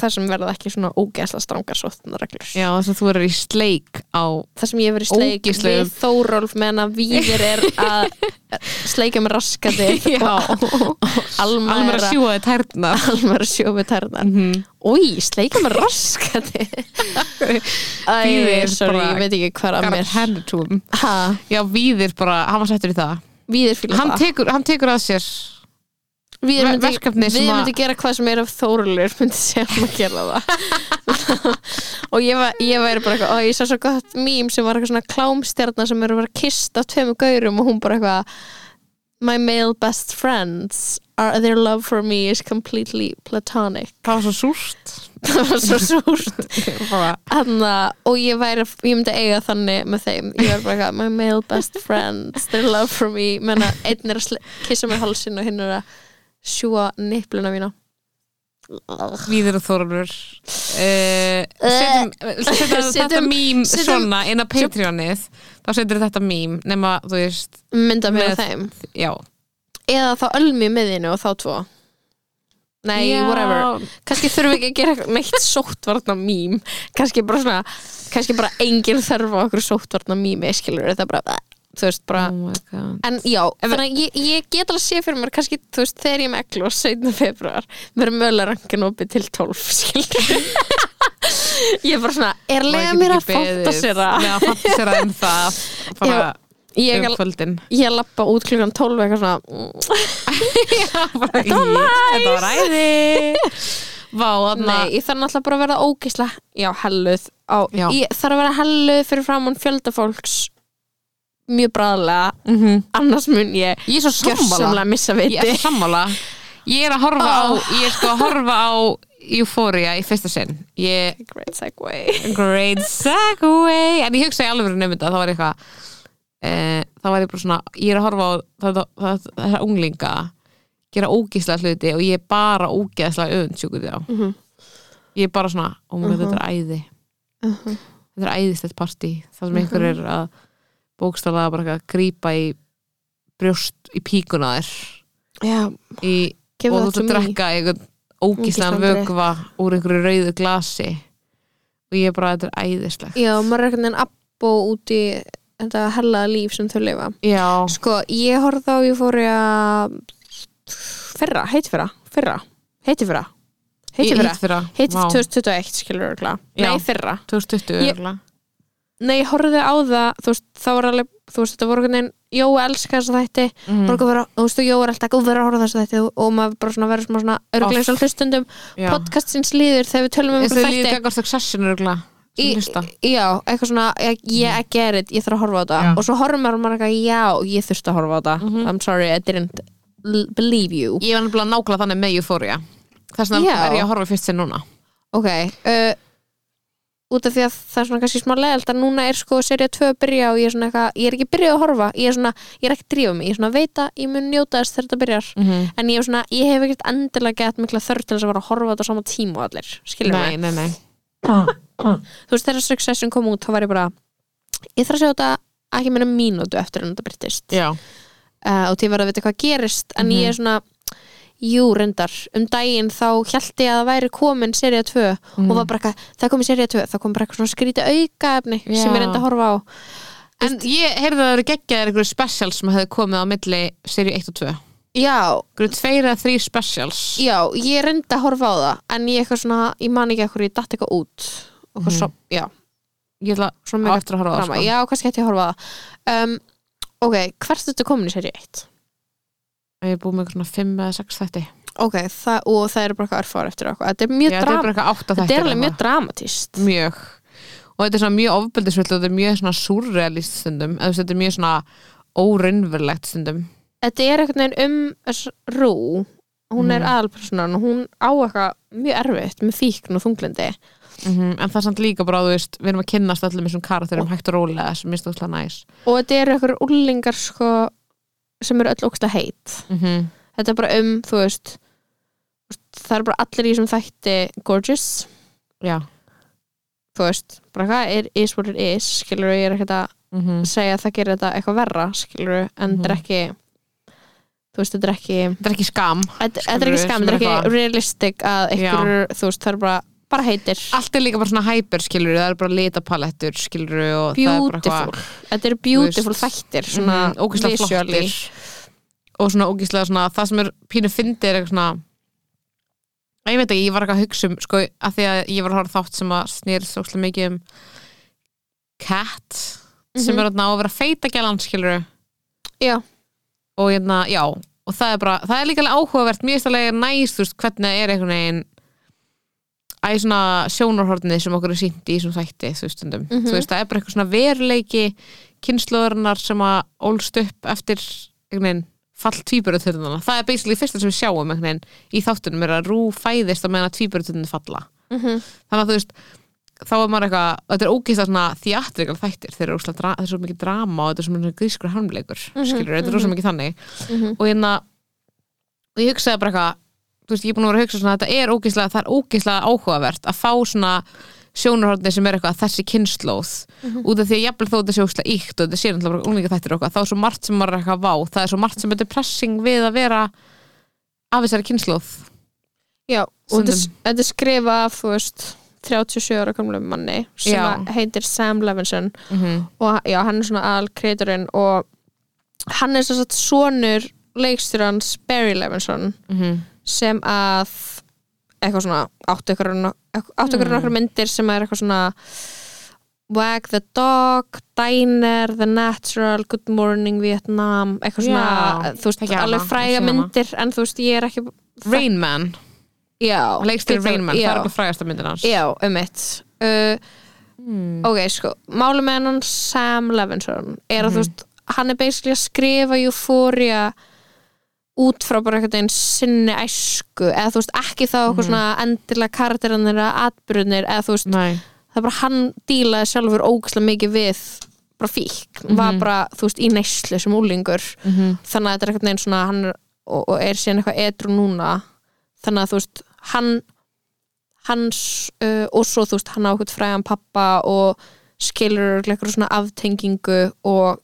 C: þar sem verða ekki svona ógeislega strangar sóttunarreglur
B: já, þess að þú eru í sleik á
C: þar sem ég hef verið sleik
B: Ógeðslegum.
C: við Þórólf meðan að víðir er að sleika með raskatið og Alma
B: alveg
C: er
B: að
C: að
B: sjúa þið tærnar
C: Alma er að sjó með tærnar Új, sleika með raskati Æ,
B: Víðir
C: sorry,
B: bara-
C: ég veit ekki hvað að
B: Garðar
C: mér
B: hendur túm
C: ha,
B: já, víðir bara, hann var settur í það
C: Víðir fíla
B: hann
C: það
B: tekur, hann tekur að sér
C: Víðir
B: ver-
C: myndi,
B: verkefni sem
C: víðir
B: að-
C: myndi gera hvað sem er af Þórólfur myndi segja um að gera það og ég, var, ég væri bara eitthvað og ég sá svo gott mím sem var eitthvað svona klámstjarnar sem eru að vera kist af tveimur gaurum og hún bara eitthvað My male best friends are their love for me is completely platonic
B: það var svo súrt
C: það var svo súrt
B: bara,
C: Hanna, og ég væri, ég myndi eiga þannig með þeim, ég var bara eitthvað my male best friends, their love for me menna, einn er að sle- kissa mig halsin og hinn er að sjúa nippluna mína Ugh.
B: Víðir og Þorlur uh, Setjum, setjum þetta
C: Setjum-
B: mím
C: setjum-
B: svona inn á Patreonið þá setur þetta mím nema þú veist,
C: mynda með,
B: Með-
C: þeim
B: já
C: eða þá ölmi með þínu og þá tvo nei,
B: já,
C: whatever kannski þurfum við ekki að gera eitthvað neitt sóttvarna mím kannski bara svona kannski bara engin þörf á okkur sóttvarna mými skilur þetta bara, þú veist, bara
B: Oh my god
C: en já, þannig að ég, ég get alveg að sé fyrir mér kannski, þú veist, þegar ég er með eglu 17. februar, verður mölarangan opið til 12, skilur ég er bara svona, er lega mér að fóta sér að
B: Lega að fantasera um það bara
C: ég,
B: um kvöldin
C: ég lappa út klukkan 12 eitthvað svona, mm,
B: Þetta var næs Þetta var ræði Vá, þarna
C: nei, ég þarf náttúrulega bara að verða ógisla, já, helluð á,
B: Já.
C: ég þarf að vera helluð fyrir framann fjöldafólks mjög bræðlega,
B: Mhm.
C: annars mun ég
B: Ég er svo sammála
C: gjörsamlega missa
B: Ég
C: viti
B: er sammála Ég er að horfa á Ég er sko að horfa á Euphoria í fyrsta sinn Ég
C: great segue
B: Great segue En ég hugsaði alveg um þetta, þá var ég eitthvað e, þá var ég bara svona ég er að horfa á þetta- þetta- þessa unglinga gera ógeðslega hluti og ég er bara ógeðslega öfundsjúkuð á
C: Mhm.
B: ég er bara svona, ó mjög, þetta er æði
C: Mhm.
B: þetta er æðislegt partí það sem einhver er að bókstaflega bara eitthvað að grípa í brjóst í píkuna þér
C: já,
B: í,
C: give that
B: og þú ert
C: to
B: að
C: me
B: drekka einhvern ógeðslegan
C: Ógeðslegan drykk.
B: vökva úr einhverju rauðu glasi og ég er bara, þetta er æðislegt
C: Já, maður er einhvern veginn app og út í þetta hellaða líf sem þau lifa
B: Já,
C: Sko, ég horfði á, ég fór í að fyrra, heiti fyrra fyrra, heiti fyrra heiti fyrra,
B: fyrra
C: heiti
B: Vá,
C: fyrra 2021 skilur örgla,
B: Já.
C: nei fyrra
B: 2020
C: Ég-
B: örugglega.
C: Nei, ég horfði á það, þú veist, það var alveg þú veist, þetta voru einhvern veginn, jó, elska þess að þætti
B: Mhm.
C: mm. vera, þú veist, jó er alltaf góð verið að horfa á þess að þætti og- og maður bara svona verið svona, svona örglega
B: Off.
C: svona hlustundum
B: Já.
C: podcastins líður þegar við tölum um
B: Eins og
C: einhver
B: líður
C: þætti
B: geggar succession örgla
C: Í- já, eitthvað svona ég, ég I get it, ég þarf að horfa á þetta
B: Mhm. Já. Mhm.
C: og svo horfum maður bara eitthvað, já, ég þurfti að horfa á þetta I'm sorry, I didn't l- believe you
B: Ég var nefnilega nákvæmlega þannig með Euphoria Þess vegna
C: Já.
B: er ég að horfa fyrst sinn núna
C: ok, uh, út af því að það er svona kannski smá leðalt að núna er sko serið 2 að byrja og ég er svona eitthvað ég er ekki byrjuð að horfa, ég er svona, ég er ekki að drífa mig ég er svona að veita, ég mun njóta þess þegar þetta byrjar
B: -hmm.
C: en ég er svona, ég hef ekkert endilega gett mikla þörf til þess að vera að horfa á þetta á sama tíma og allir, skilur mig
B: Nei, nei, nei
C: þú veist, þegar Succession kom út, þá var ég bara ég þarf að sjá þetta ekki meina mínútu eftir en þetta byrtist
B: Já,
C: uh, og til verða að vita hvað gerist en ég er svona jú, reyndar, um daginn þá held ég að það væri komin serið 2 og var bara eitthvað, það kom í serið 2 það kom bara eitthvað svona skrítið aukaefni
B: Já.
C: sem ég reyndi að horfa á
B: en ég heyrði að það eru geggjaðir einhverju specials sem hefði komið á milli serið 1 og 2
C: já,
B: Einhverju tveir eða þrý specials
C: já, ég reyndi að horfa á það en ég eitthvað svona, ég man ekki eitthvað ég datt eitthvað út og hvað
B: Mhm.
C: svo, já,
B: Ég ætla
C: svona
B: á
C: mega
B: eftir að horfa á það
C: frama
B: sko.
C: já, kannski hætti ég að horfa á það um, ok, hvert þetta komin í serið 1
B: Ég er búið með eitthvað 5 eða 6 þætti
C: ok, það, og það eru bara eitthvað örfáður eftir og eitthvað, þetta er mjög
B: Já, þetta er bara
C: drama
B: eitthvað 8 þætti
C: þetta er alveg mjög dramatíst
B: mjög og þetta er svona mjög ofbeldisvöld og þetta er mjög svona surrealist stundum eða þú veist, þetta er mjög svona óraunverulegt stundum
C: þetta er einhvern veginn um þess- Rú hún er
B: Mhm.
C: aðalpersonan og hún á eitthvað mjög erfitt með fíkn og þunglindi
B: Mhm, en það er samt líka bara, þú veist, við erum að kynnast öllum þessum karakterum hægt og rólega sem minnst alltaf næs
C: og þetta eru eitthvað úlingar sko, sem eru öll ókslega heit
B: mm -hmm.
C: þetta er bara um, þú veist það eru bara allir í sem þætti gorgeous,
B: Já
C: þú veist bara hvað er is what it is, skilur ég er ekkert að
B: mm -hmm.
C: segja að það gerir þetta eitthvað verra skilur, en þetta er
B: Mhm.
C: ekki þú veist, þetta er ekki
B: Þetta er ekki skam
C: þetta þetta er ekki
B: Skilurðu,
C: skam,
B: sem
C: þetta er
B: er
C: ekki
B: eitthvað-
C: realistic að einhver, þú veist, það er bara bara heitir,
B: Allt er líka bara svona hæpur, skilur það er bara litapalettur, skilur og það er
C: beautiful
B: bara
C: þetta eru beautiful
B: Þú veist,
C: þættir svona
B: svona ógislega
C: visually.
B: flottir og svona ógislega svona það sem er pínu fyndi er eitthvað svona Æ, ég veit ekki, ég var eitthvað að hugsa um sko, að því að ég var að horfa á þátt sem að snýr svolítið mikið um cat sem
C: Mhm.
B: er þarna á að vera feita gælan skilur
C: Já.
B: og hérna, já, og það er bara það er líka alveg áhugavert, mér er stærlega næst þú veist, hvernig það er einhvern veginn æ, svona sjónarhornið sem okkur er sýnt í þessum þætti, þú veist, stundum
C: Mhm.
B: þú veist, það er bara eitthvað svona veruleiki kynnslóðurinnar sem að ólst upp eftir einhvern veginn fall tvíburuturnana það er basically fyrsta sem við sjáum einhvern veginn í þáttunum er að rú fæðist að meðan að tvíburuturnin falla
C: Mhm.
B: þannig að þú veist þá er maður eitthvað, þetta er ógeist svona þjátrikal þættir, þeir eru óslega, dra- þetta er svo mikið drama og þetta er svo mikið grískur harmleikur mm skilur, þetta er rosa mikið þannig
C: Mhm.
B: og hérna og ég hugsaði bara eitthvað, þú veist, ég er búin að vera að hugsa svona þetta er ógeislega, það er ógeislega áhugavert að fá svona sjónarhorni sem er eitthvað þessi kynnslóð
C: Mhm.
B: út af því að jafnvel þó þetta sé ógeislega íkt og þetta sé náttúrulega bara úlinga þættir og eitthvað, þá er svo margt sem maður er eitthvað vá, það er svo margt sem er depressing við að vera af þessari kynnslóð
C: Já, og þetta er-
B: Stundum.
C: þetta er skrifa af, þú veist 37 ára komlum manni sem
B: Já.
C: að heitir Sam Levinson
B: mm -hmm.
C: og já, hann er svona aðal kreaturinn og hann er svo satt sonur leikstjórans Barry Levinson
B: Mhm.
C: sem að eitthvað svona áttu ykkur áttu
B: Hmm.
C: ykkur nokkur myndir sem er eitthvað svona Wag the Dog, Diner, The Natural, Good Morning Vietnam eitthvað
B: Já,
C: svona, þú veist,
B: þekki hana,
C: alveg
B: ég
C: fræga
B: sé hana.
C: myndir en þú veist, ég er ekki
B: Rain Man,
C: Já,
B: hann leikst til
C: Peter-
B: Rain Man það
C: já,
B: er eitthvað frægasta myndin hans
C: Já, um mitt uh,
B: Hmm.
C: Ok, sko, málum með hann Sam Levinson er að
B: Mhm.
C: þú veist, hann er basically að skrifa Euphoria út frá bara einhvern veginn sinni æsku eða þú veist, ekki þá
B: Mhm.
C: eitthvað svona endilega karakterinnir eða atbyrunir eða þú veist,
B: Nei.
C: það er bara hann dílaði sjálfur ógæslega mikið við bara fík, var bara, þú veist, í neyslu sem úlingur, þannig að þetta er einhvern veginn svona, hann er, og, og er síðan eitthvað edru núna, þannig að þú veist hann hans uh, og svo þú veist hann á eitthvað fræðan pappa og skilur eitthvað svona aftengingu og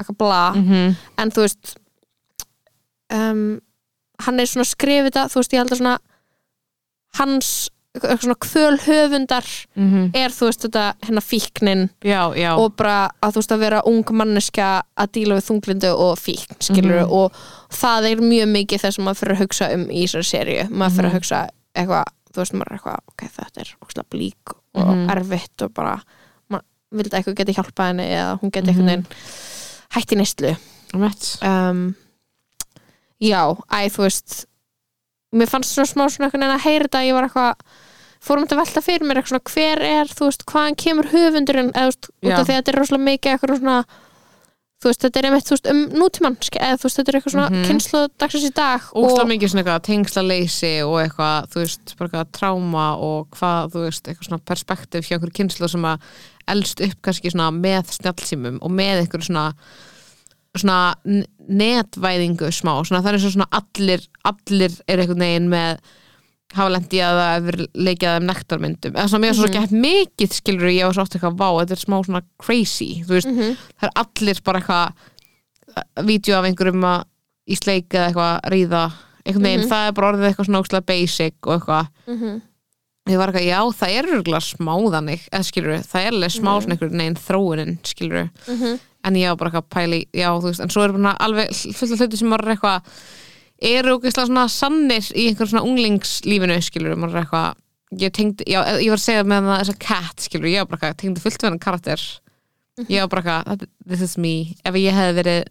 C: eitthvað bla
B: -hmm.
C: en þú veist um, hann er svona skrifið það, þú veist ég held að svona hans eitthvað svona kvöl höfundar
B: Mm -hmm.
C: er þú veist þetta hérna fíknin
B: Já, já
C: og bara að þú veist að vera ung manneskja að díla við þunglindu og fíkn skilur
B: Mhm.
C: og það er mjög mikið það sem maður fyrir að hugsa um í þessari serju maður
B: Mhm.
C: fyrir að hugsa eitthvað þú veist maður er eitthvað, ok þetta er ókslega blík og
B: Mhm.
C: erfitt og bara maður vildi eitthvað geti hjálpað henni eða hún geti einhvern veginn
B: Mhm.
C: hætt í neyslu
B: Mitt.
C: um, já, æ, þú veist mér fannst svona smá svona einhvern veginn að heyra þetta, ég var eitthvað fórum þetta velta fyrir mér, eitthvað svona hver er þú veist, hvaðan kemur höfundurinn eða, þú veist, út
B: Já.
C: af því að þetta er rosalega mikið eitthvað svona þú veist, þetta er einmitt, þú veist, um nútímann ske- eða þú veist, þetta er eitthvað svona mm
B: Mhm.
C: dagsins í dag
B: Ósla mikið svona eitthvað tengsla leysi og eitthvað, þú veist, bara eitthvað tráma og hvað, þú veist, eitthvað svona perspektíf hjá einhver kynslu sem að elst upp kannski svona með snjallsýmum og með einhver svona svona n- netvæðingu smá, svona það er eins og svona allir allir er einhvern veginn með hafa lent í að það hefur leikjað þeim nektarmyndum, eða svona mér er svo gett mikið skilur ég og svo oft eitthvað vá, þetta er smá svona crazy, þú veist, það er allir bara eitthvað vídeo af einhverjum að í sleik eða eitthvað að ríða einhvern veginn, það er bara orðið eitthvað svona ókslega basic og eitthvað,
C: Mhm.
B: ég var eitthvað já, það er örgulega smáðanig, eða skilur það er alveg smá svona einhvern veginn þróunin skilur
C: Mhm.
B: en ég var bara eitthvað að pæla í, já, þú veist, en svo er bara alveg fullt af hluti sem maður er eitthvað eru ógeðslega svona sannir í einhver svona unglingslífinu, skilur maður er eitthvað, ég tengdi, já, ég var að segja með það þess að cat, skilur, ég var bara eitthvað tengdi fullt við hann karakter
C: Mhm.
B: ég var bara eitthvað, this is me ef ég hefði verið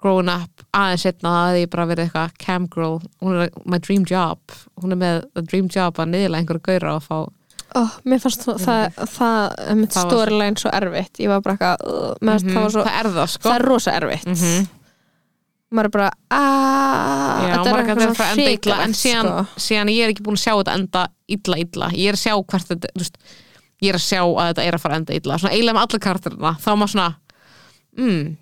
B: grown up aðeins setna það hefði ég bara verið eitthvað cam girl, hún er my dream job hún er með the dream job að niðurlega einhverju gauðra og fá
C: Ó, mér fannst það, það, það, það
B: Mhm. Það var svo-
C: storyline svo erfitt ég var bara eitthvað, uh, mm -hmm. það var svo
B: það er það, sko
C: það er rosa erfitt
B: Mhm.
C: maður er bara aaaah
B: Já, þetta er
C: eitthvað
B: eitthvað
C: svona
B: frá enda illa en
C: hrikalegt,
B: síðan,
C: sko.
B: síðan ég er ekki búin að sjá þetta enda illa illa ég er að sjá hvert þetta, þú veist ég er að sjá að þetta er að fara enda illa svona eiginlega með alla karakterina, þá er maður svona mm,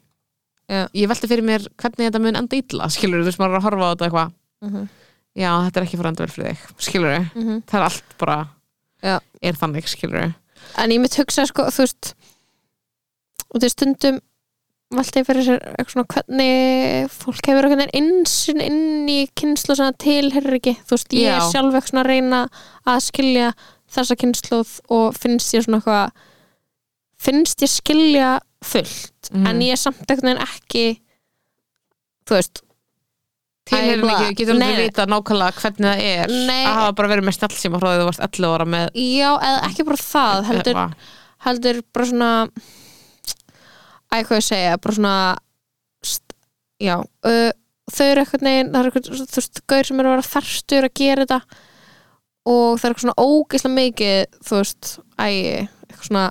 C: Já.
B: ég velti fyrir mér hvernig þetta mun enda illa skilur þú veist, maður er að horfa á þetta eitthvað
C: Mhm.
B: já, þetta er ekki að fara enda vel fyrir þig skilur
C: Mhm.
B: það er allt bara
C: Já.
B: er þannig, skilur
C: en ég mitt hugsa sko, þú veist og því stundum valdi ég fyrir sér eitthvað svona hvernig fólk hefur einhvern veginn innsinn inn í kynslu sem það tilherir ekki þú veist, ég
B: Já.
C: er sjálf eitthvað svona að reyna að skilja þessa kynsluð og finnst ég svona eitthvað finnst ég skilja fullt
B: Mhm.
C: en ég er samt einhvern veginn ekki þú veist,
B: tilherin
C: bla.
B: ekki, getur aldrei
C: Nei, nei.
B: vita nákvæmlega hvernig það er
C: Nei.
B: að hafa bara verið með snjallsíma frá því þú varst 11 ára með
C: já, eða ekki bara það heldur,
B: Eitthvað.
C: heldur bara svona æ, hvað ég segja, bara svona st, já uh, þau eru eitthvað neginn, það eru eitthvað þú veist, gaur sem eru að vera þarstur að gera þetta og það er eitthvað svona ógeislega mikið þú veist, æ, eitthvað svona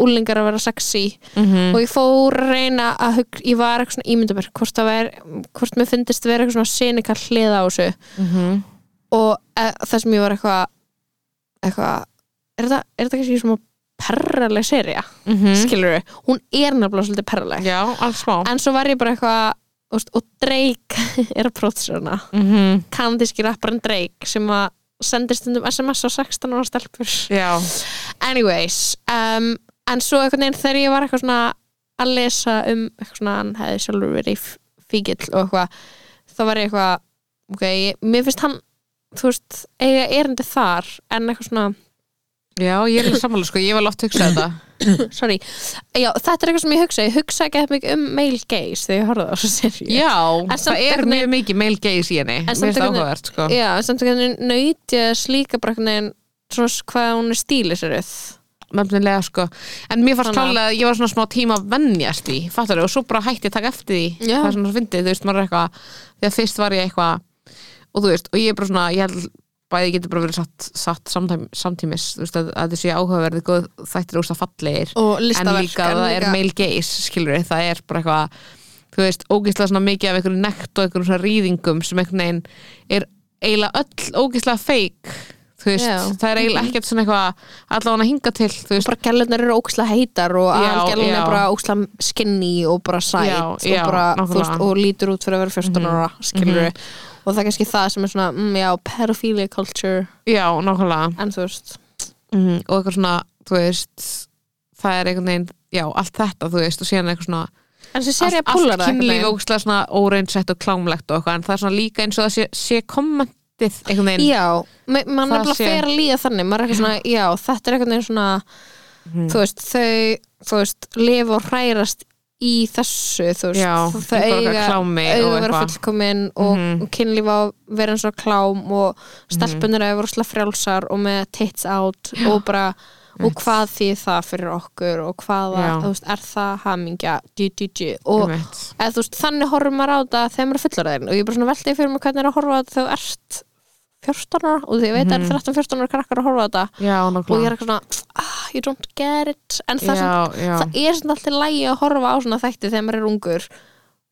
C: úlingar að vera sexy
B: Mhm.
C: og ég fór að reyna að hug, ég var eitthvað svona ímyndabur hvort, það ver, hvort mér fyndist vera eitthvað svona sinika hlið á þessu
B: Mhm.
C: og e, það sem ég var eitthvað eitthvað er þetta, er þetta kannski svona perraleg seria,
B: Mhm.
C: skilur við hún er nefnilega svolítið perraleg
B: Já, alls smá
C: en svo var ég bara eitthvað þú veist, og Drake er að prótsuna
B: Mhm.
C: kanadíski rapparinn Drake sem að sendir stundum SMS á 16 ára stelpur
B: Já,
C: anyways um, en svo einhvern veginn þegar ég var eitthvað svona að lesa um eitthvað svona hann hefði sjálfur verið fíkil og eitthvað þá var ég eitthvað ok, ég, mér finnst hann þú veist, eiga erindi þar en eitthvað svona,
B: já, ég er sammála sko, ég var oft hugsað þetta
C: sorry já, þetta er eitthvað sem ég hugsa, ég hugsa ekki eftir mikið um male gaze þegar ég horfði á þessu serið
B: Já,
C: En samt
B: það er
C: einhvern
B: mjög mikið male gaze í henni
C: samt
B: Mér finnst það
C: einhvern veginn-
B: áhugavert sko
C: já, samt ekki hann nöytja slíka bara einhvern veginn svona s- hvað hún er stílisröð
B: Nefnilega sko En mér
C: Þannig
B: fannst
C: að-
B: klálega að ég var svona smá tíma að vennjast í Fattar og svo bara hætti ég að taka eftir því
C: Já.
B: Það er svona svo fyndið, þú veist, maður er eitthvað Þegar fyrst var ég eitthvað Og þú veist, og ég er bara svona, ég held Bæði getur bara verið satt, satt samtæm, samtímis Þú veist, að, að þessi áhugaverði góð þættir úst að fallegir
C: og
B: En
C: listaverk
B: líka það er male gaze, skilur við Það er bara eitthvað, þú veist, ógislega svona mikið af einhverju nekt og einhverjum svona rýðingum sem einhvern veginn er eiginlega öll ógislega feik Þú veist,
C: Já. Mhm.
B: það er eiginlega ekkert svona eitthvað allan að hinga til, þú veist,
C: bara gælunar eru óksla heitar og
B: Já,
C: algjörlun
B: já.
C: er bara óksla skinny og bara sæt
B: Já, já,
C: og, bara, þú
B: nákvæmlega. Mhm.
C: veist, og lítur út fyrir að vera 14 ára skilur við og það er kannski það sem er svona mm, já, pedophilia culture
B: Já, nákvæmlega
C: en þú veist
B: mm,
C: Mhm.
B: og eitthvað svona, þú veist það er einhvern veginn, já, allt þetta þú veist, og síðan eitthvað svona
C: en þessi serið
B: allt,
C: púlar
B: allt
C: það
B: kynlíf
C: einhvern
B: ógstlega svona óreinsett og klámlegt og eitthvað, en það er svona líka eins og það sé, sé kommentið einhvern
C: veginn.
B: veginn
C: já, ma- mann
B: Það
C: er bara
B: sé-
C: fer að líða þannig maður er eitthvað svona, já, þetta er eitthvað svona
B: Mhm.
C: þú veist, þau þú veist, lifa og hrærast í þessu, þú veist
B: Já,
C: þau- þau
B: einhver eitthvað
C: eiga
B: klámi og
C: auðvara
B: eitthvað.
C: fullkomin og,
B: Mhm.
C: og kynlíf á að vera eins og klám og stelpunir að vera slega frjálsar og með tits out og bara og hvað þýð það fyrir okkur og
B: Já.
C: hvaða, þú veist, er það hamingja djú, djú, djú, og
B: Einmitt.
C: eða, þú veist, þannig horfum maður á þetta þegar maður er fullorðin og ég bara svona veltið fyrir mig hvernig er að horfa á þetta þegar þú ert 14 ára og því ég veit
B: Mhm.
C: að það er 13-14 ára krakkar að horfa á þetta
B: Já,
C: og ég er
B: nákvæmlega
C: eitthvað svona, ah, you don't get it en það er
B: Já, já,
C: það er svona alltaf lægi að horfa á svona þætti þegar maður er ungur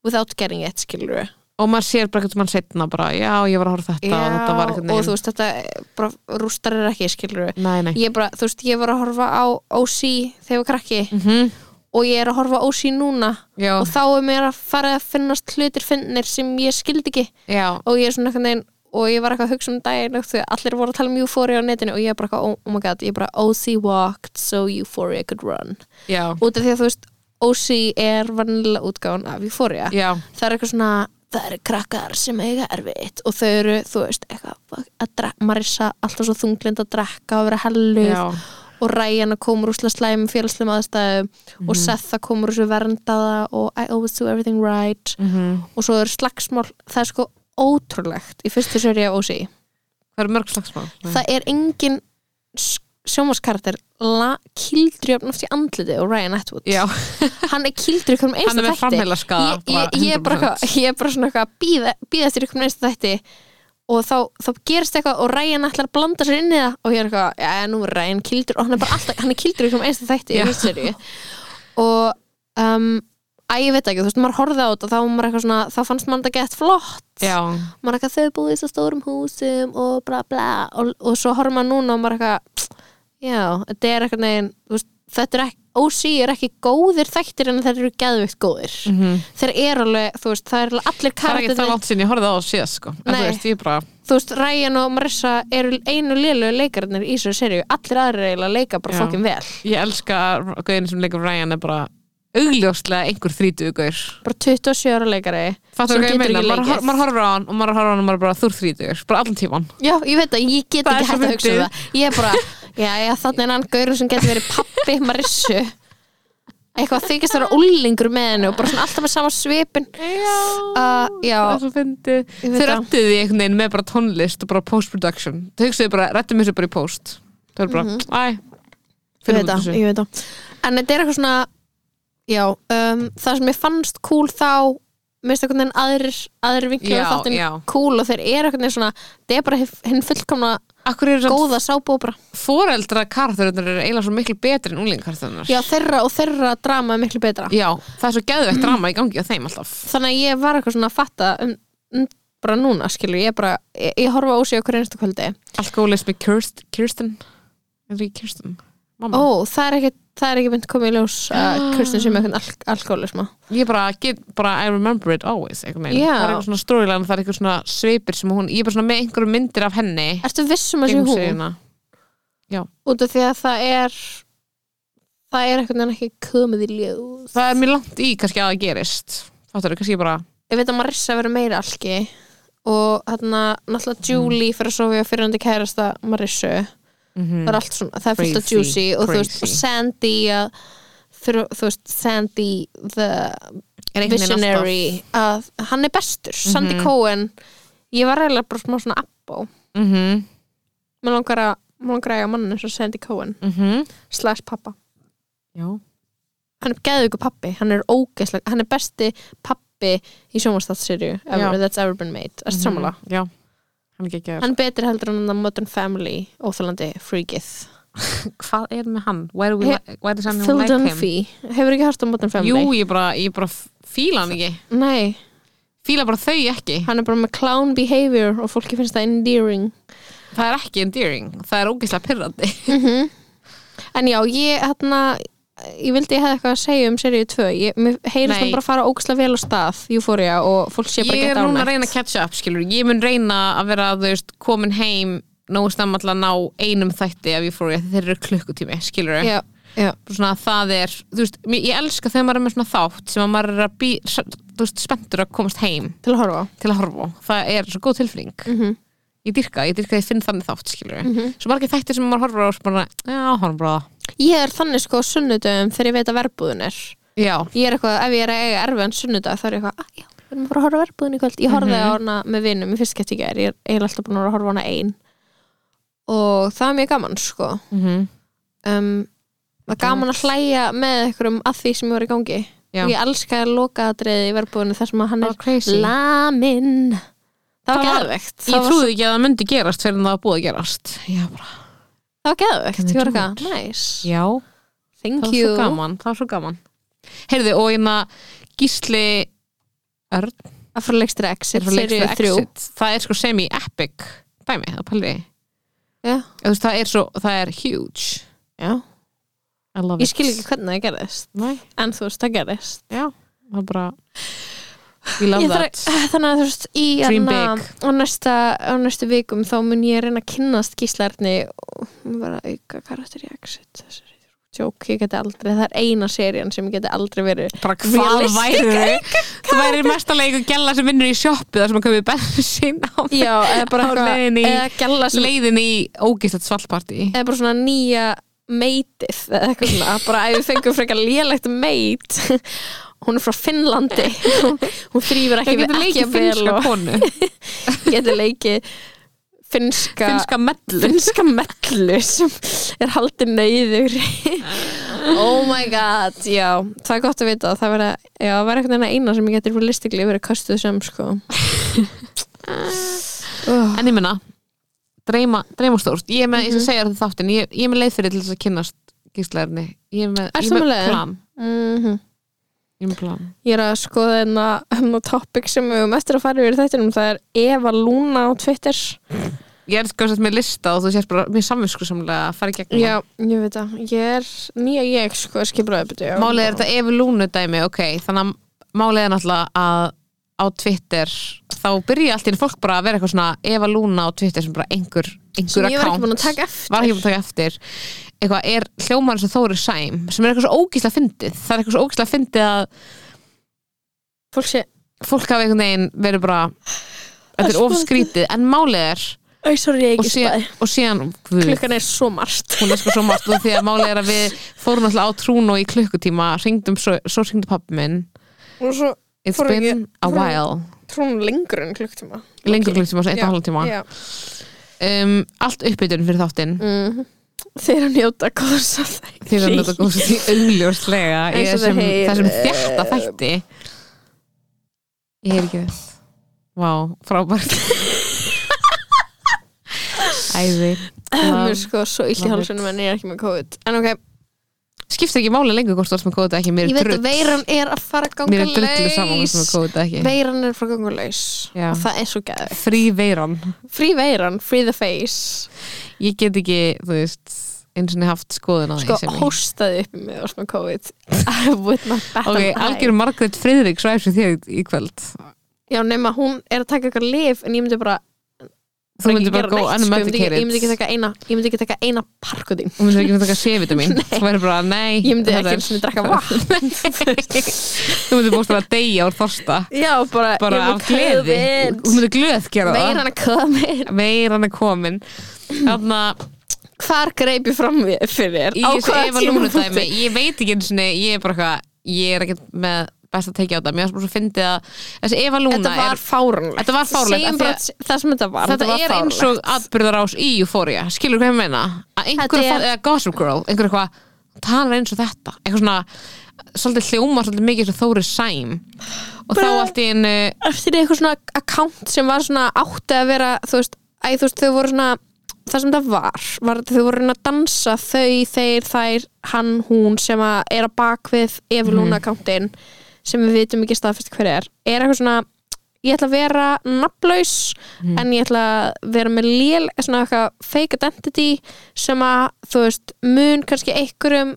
C: without getting it, skilur við
B: og maður sér bara eitthvað mann setna bara, já, ég var að horfa á þetta og þetta var einhvern
C: og þú
B: veginn
C: veist, þetta er bara rústar er ekki, skilur við
B: Nei, nei
C: ég bara, þú veist, ég var að horfa á OC þegar ég var krakki
B: Mhm.
C: og ég er að horfa á OC núna
B: Já,
C: og þá er mér að fara að finnast hlutir finnir sem ég skildi ekki
B: já,
C: og ég er svona einhvern veginn og ég var eitthvað að hugsa um daginn og því að allir voru að tala um Euphoria á netinu og ég er bara eitthvað, oh, oh my god, ég er bara OC walked so Euphoria could run
B: já,
C: út af því að þú veist OC er vanlega útgáðan af Euphoria
B: já
C: það er eitthvað svona það eru krakkar sem eiga erfitt og þau eru, þú veist, eitthvað fuck, að drekka, Marissa alltaf svo þunglind að drekka og vera helluð
B: Já,
C: og Ryan að komur úslega slæm félagslega aðstæðum og
B: Mhm.
C: Seth að komur úr þessu verndaða og I always do everything right
B: mhm.
C: og svo eru slagsmál, það er sko ótrúlegt í fyrstu seri af OC
B: það eru mörg slagsmál
C: það er engin sjómaskarater kildri oft í andliti og Ryan Atwood
B: Já,
C: hann er kildur ykkur um
B: hann
C: einsta
B: er með
C: þætti
B: framheila
C: ég, ég, ég, er bara, eitthvað- ég er bara svona eitthvað að bíða, bíða styrir ykkur um einsta þætti og þá, þá gerist eitthvað og Ryan ætlar að blanda sér inn í það og ég er eitthvað, já, nú er Ryan kildur og hann er bara alltaf, hann er kildur ykkur um einsta þætti
B: Já.
C: í þessu seríu. og um, Æ, ég veit ekki, þú veist, maður horfði á þetta þá, var maður eitthvað svona, þá fannst maður þetta gett flott
B: Já,
C: maður er eitthvað þau búið í þessu stórum húsum og bla bla og, og svo horfum maður núna og maður er eitthvað já, þetta er eitthvað negin veist, þetta er ekki, OC er ekki góðir þættir en þeir eru geðveikt góðir
B: Mhm.
C: þeir eru alveg, þú veist, það er allir
B: það er ekki það
C: karakterinn,
B: langt sinni, ég horfði á það síðast sko en þú
C: Nei.
B: veist, ég bara,
C: þú veist, Ryan og Marissa eru einu liðlegu leikarinnir í þessu serju allir aðrir eiginlega leika bara
B: Já.
C: fokkin vel
B: ég elska gauðin sem leikur Ryan er bara augljóslega einhver þrítugur gaur
C: bara 27 ára leikari
B: fattur
C: Sem
B: hvað ég
C: getur
B: meina,
C: ekki
B: maður
C: leikið.
B: hor- maður horfir á hann og maður horfir á hann og maður er bara þú er þrítugur, bara allan tíman
C: Já, ég veit að ég get
B: Það er
C: ekki hægt
B: svo
C: að hugsa um
B: fyndið.
C: það Ég er bara, já, já, þannig er hann gaurur sem getur verið pappi Marissu Eitthvað þykist að vera úlingur með henni og bara svona alltaf með sama svipin
B: já,
C: uh, Já,
B: það er svo fyndið
C: Ég veit
B: þau
C: það.
B: rættu því einhvern veginn með bara tónlist og bara post-production, þau hugsaðu bara rættum þessu bara í post, þau eru bara æ,
C: Mhm. ég
B: finnum
C: veit
B: út úr
C: að,
B: þessu
C: ég veit að En þetta er eitthvað svona Já, um, það sem ég fannst cool þá minnst einhvern veginn aðrir, aðrir vinklar
B: Já,
C: á þáttin
B: já.
C: cool og þeir eru einhvern veginn svona það er bara hef- hinn fullkomna
B: Akkur eru samt
C: góða sábóbra
B: foreldra karþurinnar eru eiginlega svo miklu betri en unglingarþurinnar
C: já þeirra og þeirra drama er miklu betra
B: Já, það er svo geðveikt drama í gangi á þeim alltaf
C: þannig að ég var eitthvað svona að fatta um, um, bara núna skilur, ég bara ég, ég horfa á sig okkur einstu kvöldi
B: Alkoholismi Kirst, Kirsten Henry Kirsten Mamma.
C: ó, það er ekki það er ekki mynd komið í ljós að
B: Ah.
C: Kirsten sem eitthvað alk alkoholisma
B: Ég bara get, bara I remember it always eitthvað meina.
C: Já.
B: Það er eitthvað svona storyline, það er eitthvað svona svipir sem hún, ég er bara svona með einhverjum myndir af henni
C: ertu vissum að sé
B: gegnum
C: hún?
B: seríuna.
C: út af því að það er það er eitthvað ekki komið í ljós
B: Það er mjög langt í kannski að það gerist Fattar kannski ég bara
C: ég veit að Marissa verið meira alki og hérna náttúrulega Julie fyrir að sofa hjá fyrirandi kærasta Marissu það er allt svona, það er fullt af
B: Mhm. Crazy,
C: juicy og þú veist,
B: crazy.
C: og Sandy að, fyrir, þú veist, Sandy the
B: Er einhvern veginn Mhm.
C: visionary að hann er bestur, Sandy Cohen ég var reyðilega bara smá svona appó
B: mm -hmm.
C: mér langar að, mér langar að ég á mann eins og Sandy Cohen
B: Mm -hmm.
C: slash pappa
B: Já
C: hann er geðveiku pappi, hann er ógeðslega hann er besti pappi í sjónvastatsirju
B: Já. Mhm.
C: that's ever been made, erst mm sammála
B: Já, hann er geggjaður
C: hann er betri heldur en hann Modern Family óþalandi freakið
B: Hvað er með hann? Why, do we
C: He-
B: li why does anyone
C: Phil
B: like him?
C: Dunphy, hefur ekki hægt á Modern Family?
B: Jú, ég bara, ég bara fíla hann ekki
C: Nei,
B: Fíla bara þau ekki
C: hann er bara með clown behavior og fólki finnst það endearing
B: Það er ekki endearing, það er ógeðslega pyrrandi
C: en já, ég hérna ég vildi ég hefði eitthvað að segja um seríu 2 ég, mér heyrist
B: Nei.
C: hann bara fara ógæslega vel á stað Euphoria og fólk sé bara
B: Ég
C: get
B: er núna
C: ánægt
B: að reyna að catch up, skilur Ég mun reyna að vera, þú veist, komin heim Nógu stemma alltaf að ná einum þætti af Euphoria Þeir eru klukkutími, skilur
C: já, já,
B: svona að það er þú veist, mér- ég elska þegar maður er með svona þátt sem að maður er að bí, s- þú veist, spenntur að komast heim
C: til að horfa á.
B: til að horfa á, það er svo góð tilfinning
C: Mhm.
B: ég dyrka, ég dyrka að ég finn þannig þátt skilur mm svo margir þættir sem maður horfir á og svo bara, já, horfum bara á það."
C: ég er þannig sko á sunnudöfum þegar ég veit að verbúðun er
B: já,
C: ég er eitthvað, ef ég er að eiga erfiðan sunnudag þá er ég eitthvað, að já, við erum að fara að horfa á verbúðun í kvöld ég horfði
B: Mhm.
C: á hana með vinum í fyrst gett ég er ég er eiginlega alltaf búin að vera að horfa á hana ein og það er mjög gaman sko
B: mm
C: um, það er gaman að hlæja með einhverjum að því sem ég var í gangi
B: já.
C: og ég elska að loka að í verbúðinu þar sem að hann er
B: það var crazy
C: lamin það var
B: Það var-
C: geðvegt
B: ég
C: það var,
B: trúði ekki að það myndi gerast fyrir en það var búið að gerast já, bara,
C: það var
B: Can
C: geðvegt,
B: we
C: ég var
B: do
C: eitthvað nice,
B: já, það
C: thank
B: var svo
C: you að
B: gaman það var svo gaman heyrðu, og hérna Gísli Örn
C: fara leikstur exit,
B: frá leikstjóra
C: serið þrjú
B: Exit. það er sko semi-epic dæmi, það pæli
C: Já.
B: Þú veist, það er svo, það er huge
C: já
B: I love
C: Ég skil ekki hvernig það gerðist
B: Nei,
C: En þú veist, það gerðist
B: já, það er bara we love
C: Ég þarf-
B: that
C: Þannig að þú veist, í
B: Dream
C: hana-
B: big.
C: á næsta, á næstu vikum þá mun ég reyna að kynnast gíslarni og vera að auka karakter í Exit þessari Jók, ég geti aldrei, það er eina serían sem ég geti aldrei verið
B: bara hvað
C: Realistic
B: væri þau það væri mest að leika gæla sem vinnur í sjoppu þar sem að köpi bensin á
C: Já, eða bara
B: Á leiðinni í-
C: eða gæla sem,
B: leiðin í ógistætt svallparti
C: eða bara svona nýja meitið eða eitthvað svona, bara ef við fengum frekar lélegt meit hún er frá Finnlandi hún, hún þrýfur
B: það
C: ekki, ekki
B: getur leikið
C: vel
B: finnska
C: og
B: konu
C: getur leikið finnska
B: finnska mellu
C: finnska mellu sem er haldið nöyður oh my god já, það er gott að vita það verða, já, það verða eitthvað eina sem ég getur realistikli verið kastuð sem sko oh,
B: en ég minna, dreyma, dreyma stórt ég er með, ég
C: Mhm.
B: skal segja þetta þáttin ég, ég er með leið fyrir til þess að kynnast gíslaðurni ég er með,
C: Ert
B: ég
C: þú
B: er
C: með
B: með
C: leið?
B: plan
C: mm
B: ég er með plan
C: ég er að skoða hérna- hérna topic sem við höfum eftir að fara yfir þetta það er Eva Luna á Twitter
B: ég er sko sett með lista og þú sést bara mér samvisku samlega að fara í gegnum
C: já, ég veit að ég er nýja ég sko skipraði
B: það.
C: betur
B: málið er þetta Evi Lúnu dæmi ok, þannig að málið er náttúrulega að á Twitter þá byrja allt í enn fólk bara að vera eitthvað svona Eva Lúna á Twitter sem bara einhver
C: sem
B: einhver
C: ég var ekki búin að
B: account
C: taka eftir
B: var ekki búin að taka eftir eitthvað er hljómarinn sem Þóri Sæm sem er eitthvað svo ógísla fyndið það er eitthvað svo ógísla fyndið að
C: fólk sé,
B: fólk hafi einhvern veginn verið bara þetta er
C: Það er
B: of
C: svo-
B: skrítið en málið er
C: æ, sorry, ég
B: og
C: ekki
B: síðan,
C: spæði
B: og síðan guð,
C: klukkan er svo margt
B: hún er sko svo margt og því að málið er að við fórum alltaf á trún og í klukkutíma hringdum svo, svo hringdi pappi minn
C: og svo
B: It's
C: Fóru ekki-
B: been a
C: fóru-
B: while
C: trúnum lengur en klukktíma
B: lengur klukkutíma, svo eitt og halv tíma
C: Já.
B: um, allt uppbytun fyrir þáttinn
C: Mm. Þeir að njóta góðs af þeim
B: því að þetta góðs því augljóslega í
C: Eins og
B: þessum,
C: það heyr-
B: þessum þjarta þætti Ég hef ekki veit Vá, frábært Æði
C: Mér
B: Love.
C: er sko svo illt í
B: love
C: halsunum en ég er ekki með COVID En ok,
B: Skiptir ekki máli lengur hvort þú ert með kóta ekki Mér
C: ég
B: er
C: veit
B: drull
C: að veiran er að fara að
B: Mér
C: ganga
B: er drullu saman hvort þú ert með
C: laus
B: kóta ekki
C: Veiran er að fara að ganga laus
B: Já.
C: Og það er svo gæði
B: Frí veiran
C: Free veiran, free the face
B: Ég get ekki, þú veist eins og niður haft skoðun á því
C: Sko,
B: sem ég-
C: hóstaði upp í mig og svona COVID I would not bet
B: Ok,
C: an eye.
B: algjör Margrét Friðrik svo eftir þér í kvöld
C: Já, nema hún er að taka eitthvað lif en ég myndi bara
B: Þú myndir bara
C: ekki
B: go
C: gera neitt, sko, ég myndi ekki-
B: unmedicated
C: Ég myndi ekki taka eina, ég myndi ekki taka eina parkutin
B: Þú myndir ekki að taka C-vitamin Þú verður bara, nei
C: Ég myndi
B: þetta
C: ekki
B: er-
C: einu sinni drekka vatn
B: Þú myndir búst að deyja úr þorsta
C: Já, bara,
B: Bara
C: ég
B: af gleði Þú myndir glöð gera það
C: Veiran að koma inn
B: Veiran er komin Þarna,
C: Hvar greip ég fram við- fyrir
B: í
C: Á
B: þessu
C: hvaða
B: Eva Lúnu
C: tímapunkti?
B: dæmi Ég veit ekki eins og ég er bara eitthvað Ég er ekkert með best að tekja á þetta Mér er bara svo fyndið að Þessi Eva Lúna
C: Þetta var
B: er
C: fáránlegt
B: Þetta var fáránlegt, af
C: Segjum
B: því
C: bara
B: að-
C: það sem þetta var
B: Þetta
C: var
B: er eins og atbyrðarás í Euphoria Skilur hvað ég meina? Að einhver,
C: Þetta
B: er...
C: er-
B: eða Gossip Girl, einhver eitthvað talar eins og þetta Eitthvað svona, svolítið hljóma svolítið mikið eins og Þóri Sæm Og þá
C: Bara-
B: allt í einu
C: Eftir eitthvað svona account sem var svona átti að vera Þú veist, æ, þú veist þau voru svona Það sem það var, var að þau voru að reyna að dansa Þau, þeir, þær, hann, hún Sem að er að bakvið Evelúna accountin Sem við vitum ekki staðfest hver er Er eitthvað svona Ég ætla að vera nafnlaus En ég ætla að vera með lél Svona eitthvað fake identity Sem að, þú veist, mun kannski einhverjum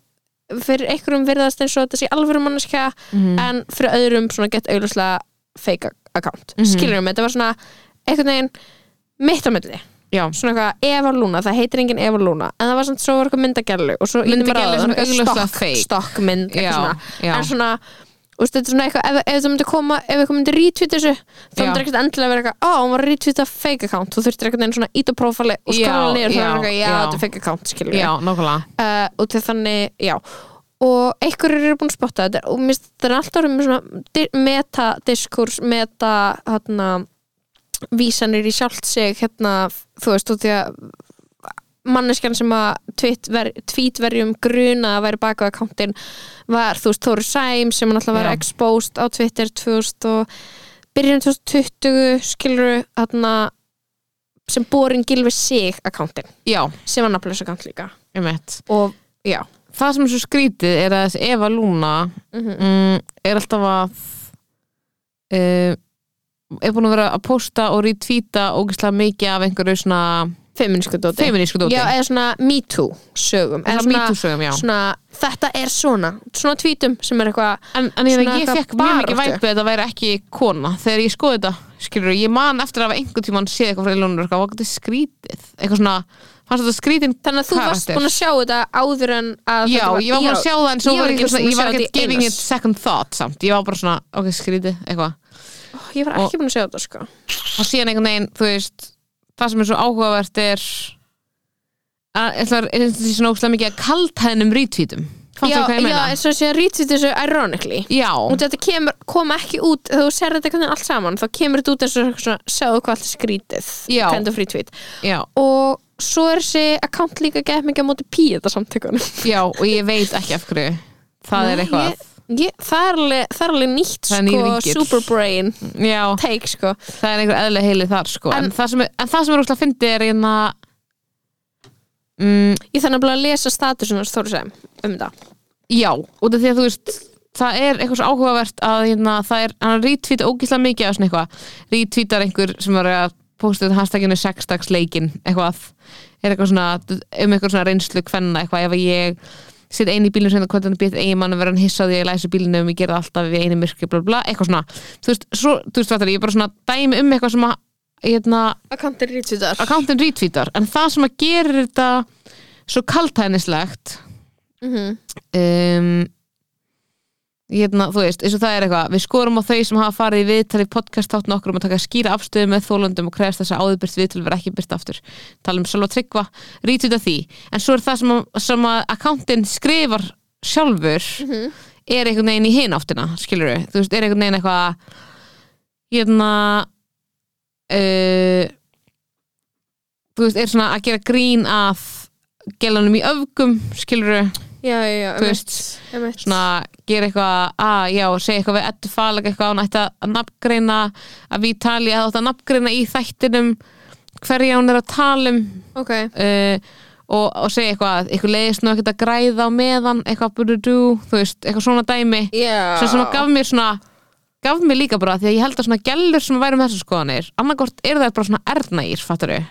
C: fyrir einhverjum virðast eins og þetta sé alvöru manneskja
B: Mhm.
C: en fyrir öðrum svona gett auðvitað fake account
B: Mhm.
C: mm -hmm. skilurum, þetta var svona einhvern veginn mitt á milli
B: Já,
C: svona eitthvað Eva Luna, það heitir enginn Eva Luna en það var svona, svo var eitthvað myndagellu og svo
B: Myndagellu svona augljóslega fake.
C: stokk mynd
B: Já,
C: svona.
B: já.
C: en svona Þú veist, þetta er svona eitthvað, ef, ef þú myndir koma, ef eitthvað myndir retweeta þessu, þá
B: Já.
C: myndir ekkert endilega vera eitthvað, ó, hún var að retweeta fake account, þú þurftir eitthvað svona ít og prófali og
B: Já,
C: skala niður, þá
B: já,
C: er eitthvað, já,
B: já.
C: þetta er fake account, skilur
B: já, nákvæmlega
C: uh, og til þannig, já og einhverjir eru búin að spotta þetta og mér finnst þetta er alltaf orðið með svona di- metadiskurs, meta hérna, vísanir í sjálft sig hérna, þú veist, út í að manneskjan sem að tvítver, tvítverjum gruna að væri baka á akkántin var, þú veist, Þóri Sæm sem hann alltaf var
B: Já.
C: exposed á Twitter 2000 og byrjun 2020 skilur hérna, sem borin gilfi sig akkántin,
B: Já,
C: sem var nafnlaus akkánt líka
B: um
C: og já,
B: það sem er svo skrítið er að þessi Eva Luna
C: Mhm.
B: mm, er alltaf að uh, er búin að vera að posta og retweeta ógeðslega mikið af einhverju svona
C: feminísku dóti
B: feminísku dóti
C: já, eða svona me too sögum
B: eða
C: svona,
B: mítúsögum, já
C: svona, þetta er svona svona tvítum sem er eitthvað
B: en, en ég,
C: svona
B: veit, ég
C: eitthvað
B: fekk mjög
C: baráttu.
B: mikið væpið að þetta væri ekki kona þegar ég skoði þetta, skilur ég man eftir að hafa einhvern tímann séð eitthvað frá Elónur eitthvað, var þetta skrítið, eitthvað svona fannst þetta skrítin
C: þannig að þú varst
B: karakter.
C: búin að sjá þetta áður en að
B: Já,
C: þetta
B: ég var bara að sjá það en svo
C: ég
B: var ekki,
C: búin
B: svona,
C: að
B: ég var
C: sjá
B: ekki
C: þetta í
B: giving it
C: einu.
B: second thought samt, ég var bara svona, ok, skrítið eitthvað
C: Ó, ég var ekki búin að sjá þetta sko
B: og síðan einhvern veginn, þú veist það sem er svo áhugavert er að ég ætlar, ég finnst þetta svona óslega mikið að kaltæðnum rítvítum fannst
C: já,
B: það hvað ég
C: já,
B: meina?
C: eins og sé að rítið þessu ironically
B: Já,
C: og þetta kemur, kom ekki út þegar þú serði þetta einhvern veginn allt saman þá kemur þetta út eins og eitthvað svona sjáðu hvað allt er skrítið
B: Já.
C: kind of retweet
B: já,
C: og svo er þessi account líka gett mikið á móti píða samtökunum
B: já og ég veit ekki af hverju það er
C: Nei,
B: eitthvað
C: ég, ég, það, er alveg, það er alveg nýtt
B: Það er nýr
C: sko,
B: vinkill. Mm.
C: superbrain
B: Já,
C: take sko.
B: það er einhver eðlega heili þar sko. en,
C: En-
B: það sem er, en það sem er úrslag að fyndi er hérna, einna mm,
C: ég þannig að lesa statusun hans Þóru sem um það
B: já, út af því að þú veist það er eitthvað svo áhugavert að hérna, það er, hann retweet ógislega mikið af svona eitthvað, retweetar einhver sem var að posta þetta hashtaginu sexdagsleikin eitthvað, er eitthvað svona um eitthvað svona reynslu kvenna eitthvað ef að ég sitt einu í bílnum sem það hvað þannig býtt eigin mann að vera hann hissað því að ég læsi bílnum ég gera það alltaf við einu myrkri bla bla eitthvað svona, þú veist, svo, þú veist, fattar, ég er bara svona dæmi um eitthvað sem að hérna,
C: akkantir rítsutar
B: accountin retweetar en það sem að gerir þetta svo kaltæðnislegt um, hérna, þú veist, eins og það er eitthvað við skorum á þau sem hafa farið í viðtal í podcast þátt nokkur um að taka skýra afstöðu með þólundum og krefst þess að áðurbyrt viðtal vera ekki byrt aftur tala um sjálfa tryggva, retweeta því en svo er það sem að, sem að accountin skrifar sjálfur er einhvern veginn í hin áttina skilur við, þú veist, er einhvern veginn eitthvað hérna uh, þú veist, er svona að gera grín að gelanum í öfgum, skilur
C: já, já, já, um
B: þú veist,
C: einmitt.
B: svona gera eitthvað að, já, segja eitthvað við Eddu Falag eitthvað, hún ætti að nafngreina að við tali, að þetta nafngreina í þættinum hverja hún er að tala um
C: ok,
B: uh, og, og segja eitthvað að eitthvað leiðist nú ekkert að græða á meðan eitthvað burudú, þú veist, eitthvað svona dæmi
C: já
B: sem svona gaf mér svona gaf mér líka bara því að ég held að svona gælur sem væri með þessar skoðanir, annarkort eru þær bara svona ernaýr, fattar við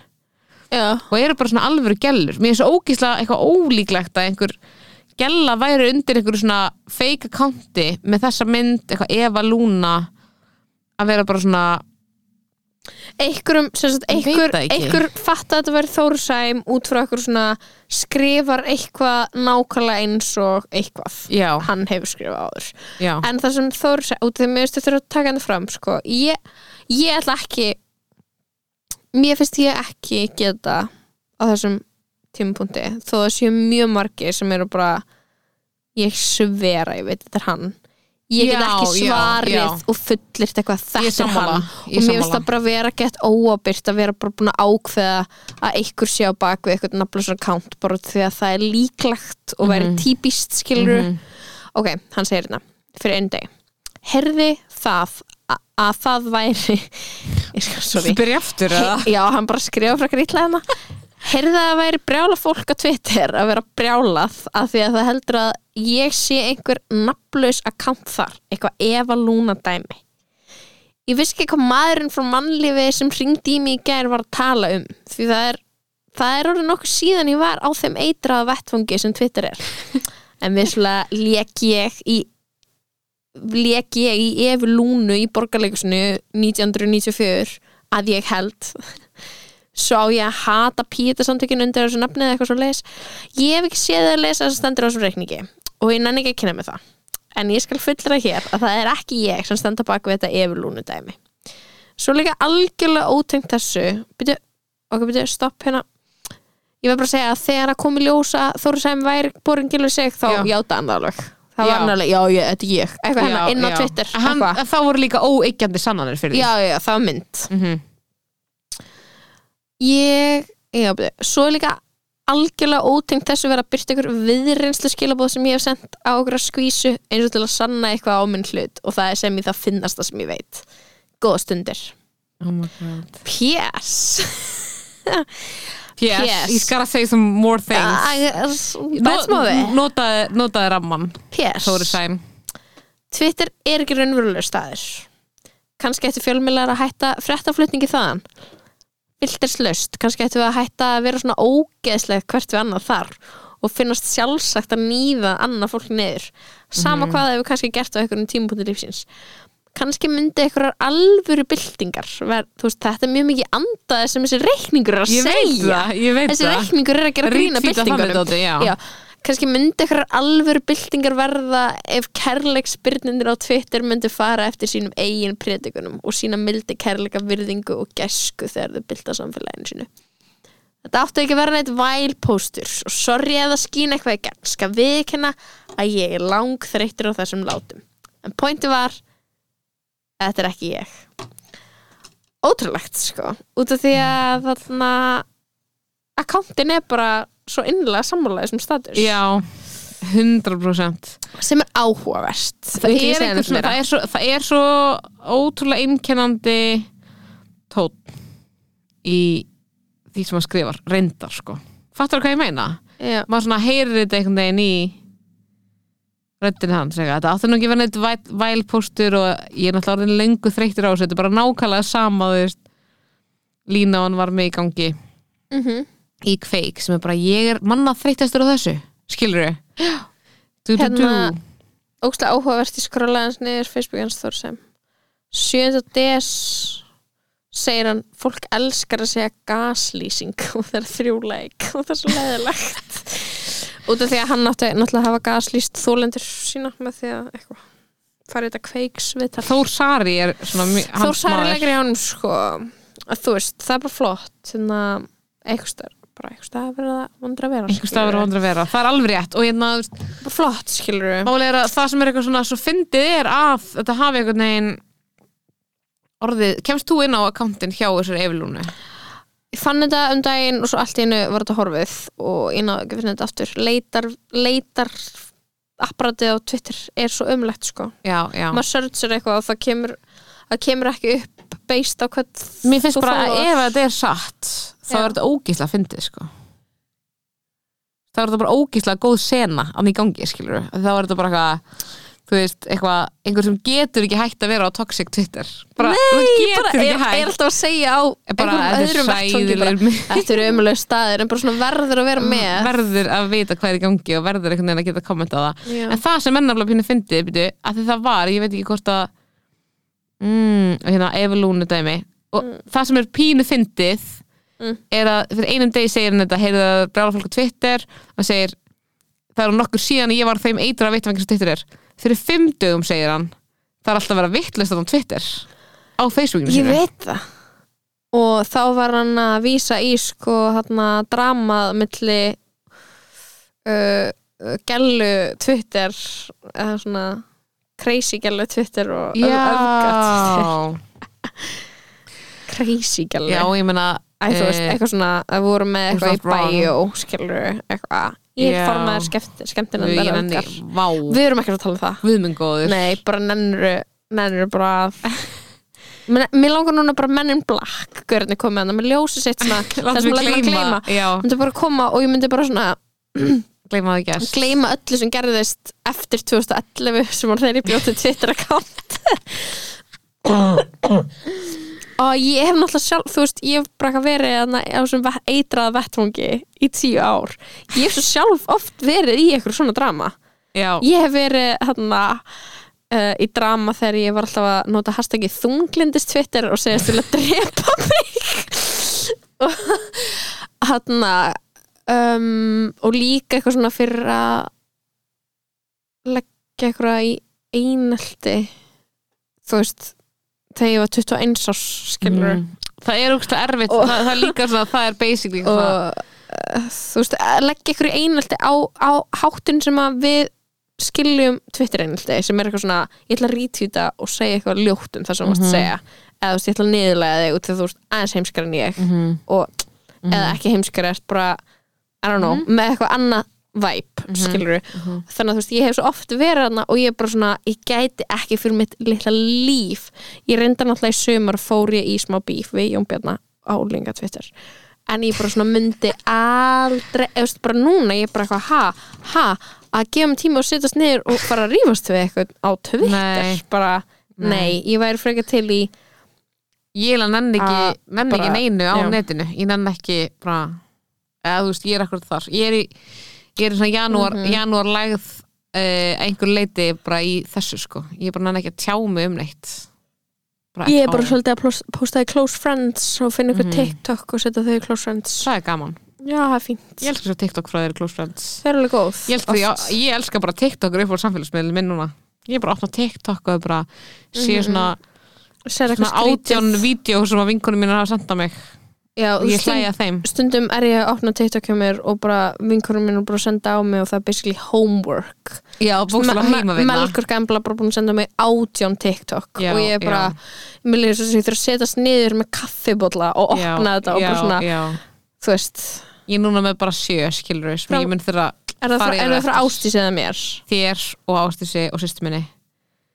C: já,
B: og eru bara svona alvöru gellur mér er svo ógíslega eitthvað ólíklegt að einhver gella væri undir einhverju svona fake accounti með þessa mynd eitthvað Eva Luna að vera bara svona
C: einhverjum, sem sagt,
B: Ég veit
C: einhver,
B: það ekki.
C: einhver fatt að þetta verið Þórsæm út frá einhver svona skrifar eitthvað nákvæmlega eins og eitthvað
B: já,
C: hann hefur skrifað áður
B: já,
C: en það sem Þórsæm, út af því mér stöður að taka hann fram sko, ég, ég ætla ekki mér finnst ég ekki geta á þessum tímapunkti þó að séu mjög margir sem eru bara ég svera, ég veit, þetta er hann ég get
B: Já,
C: ekki
B: já,
C: svarið
B: já.
C: og fullirt eitthvað
B: Ég er
C: þetta er
B: sammála,
C: hann
B: ég er
C: og mér finnst
B: sammála.
C: það bara vera gett óabyrt að vera bara búin að ákveða að einhver sé á bak við eitthvað nafnlausar account bara því að það er líklegt og
B: Mhm.
C: væri típist skilur ok, hann segir hérna, fyrir einn dag herði það a- að það væri ég skal sorry
B: byrja aftur
C: He- Já, hann bara skrifa frá grítlega hérna Heyrði að það væri brjála fólk á Twitter að vera brjálað af því að það heldur að ég sé einhver nafnlaus account þar, eitthvað Eva Luna dæmi Ég vissi ekki hvað maðurinn frá mannlífi sem hringdi í mig í gær var að tala um því það er, það er orðið nokkuð síðan ég var á þeim eitraða vettfungi sem Twitter er en visslega lék ég í lék ég í Evu Lúnu í borgarleikusinu 1994 að ég held svo á ég að hata pítasamtökin undir þessu nafni eða eitthvað svo leis ég hef ekki séð að lesa þessu stendur á þessum reikningi og ég nenni ekki að kynna með það en ég skal fullra hér að það er ekki ég sem stenda bak við þetta Evu Lúnu dæmi svo líka algjörlega ótengt þessu byrju, ok, byrju, stopp hérna ég verð bara að segja að þegar að komi ljósa Þóru sem væri borin gilur sig þá
B: Já.
C: játa hann það alveg það
B: Já.
C: var hann alveg, já, ég, þetta er ég eitthvað hennar, hérna, inn á Twitter
B: hann,
C: eitthvað.
B: þá voru líka óeikjandi sannanir fyrir
C: já, já, það var mynd
B: því mm -hmm.
C: ég, já, byrju, svo er líka algjörlega ótengt þessu vera að byrta ykkur viðreynslu skilabóð sem ég hef sendt á okkur að skvísu eins og til að sanna eitthvað á minn hlut og það er sem ég það finnast það sem ég veit góða stundir Oh P.S.
B: yes,
C: Yes.
B: he's gotta say some more things
C: That's more
B: notaði, notaði ramman
C: P.S.
B: Þóri Sæm
C: Twitter er ekki raunverulega staður kannski ættu fjölmiðlar að hætta frettaflutningi þaðan vilderslaust, kannski ættu við að hætta að vera svona ógeðslega hvert við annað þar og finnast sjálfsagt að nýða annað fólk niður sama
B: Mhm.
C: hvað það hefur kannski gert á einhverjum tímapunkti lífsins kannski myndi einhverjar alvöru byltingar ver, þú veist, þetta er mjög mikið andaði sem þessi reikningur er að
B: Ég veit
C: segja
B: það, ég veit
C: þessi
B: það
C: reikningur er að gera grína
B: Retweeta það með
C: byltingunum
B: dóti, já.
C: Já, kannski myndi eitthvað alvöru byltingar verða ef kærleiksbyrnindir á Twitter myndi fara eftir sínum eigin predikunum og sína mildi kærleika virðingu og gæsku þegar þau bylta samfélaginu sínu Þetta áttu ekki að vera neitt vælpóstur og sorgi eða skín eitthvað í gegn skal viðkynna að ég er lang þreyttur á þessum látum en pointi var þetta er ekki ég Ótrúlegt sko út af því að þarna akkántin er bara svo innlega sammálaði sem status
B: Já, 100%
C: sem er áhugavert
B: það er, einhver svona, það, er svo, það er svo ótrúlega einkennandi tón í því sem maður skrifar, reyndar sko fattar hvað ég meina?
C: já,
B: maður svona heyrir þetta einhvern veginn í röddin hans eitthvað. þetta áttu nú ekki að vera neitt væl- vælpóstur og ég er náttúrulega orðin lengu þreyttir á þessu þetta er bara nákvæmlega sama þú veist, lína hann var með í gangi
C: mm
B: Mhm. í kveik sem er bara ég er manna þreyttastur á þessu skilur þau? Du, du, du.
C: Hérna- ógstlega áhugavert í skrólaðans niður Facebook hans Þór sem 7. des segir hann, fólk elskar að segja gaslýsing og það er þrjúleik og það er svo leðilegt út af því að hann átti náttúrulega að hafa gaslýst þólendur sína með því að eitthvað farið þetta kveiks við það
B: Þór Sari er svona mj-
C: Þór
B: hans maður.
C: særilegri ánum sko að þú veist, það er bara flott þannig að eitthvað stær bara eitthvað stær verið að vandra að vera
B: einhver stafur
C: skilurðu.
B: vandur að vera, það er alveg rétt og hérna, þú veist,
C: Bara flott skilur við
B: málið er að það sem er eitthvað svona svo fyndið er að þetta hafi einhvern veginn orðið, kemst þú inn á akkántin hjá þessari efilúnu?
C: ég fann þetta um daginn og svo allt í einu var þetta horfið og ég náðu ekki að finna þetta aftur leitar, leitar apparatið á Twitter er svo umlegt sko
B: já, já
C: maður searchar eitthvað og það kemur það kemur ekki upp based á hvað
B: Mér finnst
C: þú
B: bara að
C: followar.
B: ef þetta er satt þá
C: Já.
B: er þetta ógísla að fyndið sko þá er þetta bara ógísla góð sena án í gangi skilur við þá er þetta bara eitthvað þú veist, eitthvað, einhver sem getur ekki hægt að vera á toxic Twitter bara, þú
C: Ég
B: getur
C: bara
B: ekki
C: er, er
B: hægt
C: alltaf að segja á
B: bara,
C: einhverjum öðrum
B: þetta er
C: vettvangi bara,
B: sæðilegur Mm,
C: Þetta eru ömulega staðir en bara svona verður að vera með
B: verður að vita hvað er í gangi og verður einhvern veginn að geta kommenta á það
C: Já.
B: en það sem ennafla pínu fyndið byrju, að því það var, ég veit ekki hvort að mm, hérna, Evelúnu dæmi og það sem er pínu fyndið
C: Mm.
B: er að fyrir einum degi segir hann þetta heyrðu að brála fólk á Twitter og segir, það eru nokkur síðan ég var þeim eitra að vita hvað Twitter er fyrir fimm dögum segir hann það er alltaf að vera vittlust á Twitter á Facebookinu
C: Ég
B: sínu.
C: veit það Og þá var hann að vísa í sko þarna dramað milli uh, gellu Twitter eða svona crazy gellu Twitter og öf- öfga
B: Já,
C: Twitter crazy gellu
B: já, ég meina
C: Æ, þú veist,
B: eh,
C: eitthvað svona að voru með
B: Hún
C: eitthvað í
B: samt wrong.
C: bæjó skilur eitthvað Ég
B: Já.
C: er formaður skemmti- skemmtinefndar
B: ég
C: öfgar.
B: nenni, vá,
C: Við erum ekki að tala um það
B: guðminn góður
C: Nei, bara nennur nennur bara að Men- Mér langar núna bara menn in black Görðin er komið hann, mér ljósi sitt svona sem
B: Látum við
C: maður lætur maður
B: gleyma Já,
C: Ég myndi bara koma og ég myndi bara svona
B: gleyma það gæst
C: gleyma öllu sem gerðist eftir 2011 sem var þeirri bjóti Twitter account og ég hef náttúrulega sjálf þú veist, ég hef bara eitthvað verið þarna á þessum ve- eitraða vettfungi í tíu ár ég hef svo sjálf oft verið í eitthvað svona drama
B: Já,
C: ég hef verið hérna Uh, í drama þegar ég var alltaf að nota hashtaggi þunglindist Twitter og segjast til að drepa mig og hérna um, og líka eitthvað svona fyrir að leggja eitthvað í einaldi þú veist þegar ég var 21 árs skilur
B: mm. það er úkst erfitt
C: Og-
B: það, það er líka svona, það er basically
C: og
B: svona,
C: uh, þú veist, að leggja ykkur í einhaldi á, á háttin sem að við skiljum Twitter einhaldi sem er eitthvað svona, ég ætla að rítvíta og segja eitthvað ljótt um það sem þú
B: Mhm.
C: varst að segja eða þú veist, ég ætla að niðurlega þig út þegar þú veist aðeins heimskar en ég
B: mm
C: og,
B: Mhm.
C: eða ekki heimskar ert bara, I don't know, með eitthvað annað væp, mm
B: mhm.
C: þannig að þú veist, ég hef svo oft verið hana og ég er bara svona, ég gæti ekki fyrir mitt litla líf ég reyndar náttúrulega í sumar fór ég í smá bíf við Jón Bjarnar álinga Twitter en ég bara svona myndi aldrei, eða þú veist, bara núna ég er bara eitthvað, ha, ha að gefa um tíma og sittast niður og bara rífast við eitthvað á Twitter
B: Nei.
C: bara,
B: Nei.
C: nei. ég væri frekar til í
B: Ég eiginlega nenni
C: Að
B: ekki, nenni ekki
C: Ah, bara-
B: neinu á
C: já.
B: netinu Ég nenni ekki bara eða þú veist, ég er akkur þar Ég er í, ég er í svona janúar,
C: Mhm.
B: janúar lægð uh, einhver leiti bara í þessu sko Ég bara nenni ekki að tjá mig um neitt bara
C: ég
B: ekki
C: er bara
B: á-
C: svolítið að plós- posta í close friends og finna ykkur
B: Mhm.
C: TikTok og setja þau í close friends
B: Það er gaman
C: já, það er fínt
B: Ég elska svo TikTok frá þeirri close friends
C: þau eru alveg góð
B: ég, elska,
C: oft.
B: ég, ég elska bara TikTok upp á samfélagsmiðlum minn núna ég er bara að opna TikTok og bara sé svona,
C: Sér Mhm.
B: svona
C: eitthvað skrítið.
B: átján vídeo sem að vinkunum mín hafa senda mig
C: Já,
B: og ég
C: stund,
B: hlæja þeim
C: stundum er ég að opna TikTok hjá mér og bara vinkurum minn er bara að senda á mig og það er basically homework
B: já, bókslega heimavinna
C: Melgur Gambla bara búin að senda á mig átján TikTok
B: Já,
C: og ég er bara, mér líður svo sem ég þurf að setjast niður með kaffibólla og
B: Já,
C: opna þetta og
B: já,
C: bara svona,
B: já.
C: þú veist
B: ég er núna með bara sjö skilur sem
C: Frá-
B: ég mun þurra
C: er það
B: Fara
C: frá,
B: yfir
C: er það frá
B: eftir.
C: ástísi eða mér?
B: þér og Ástísi og sýstu minni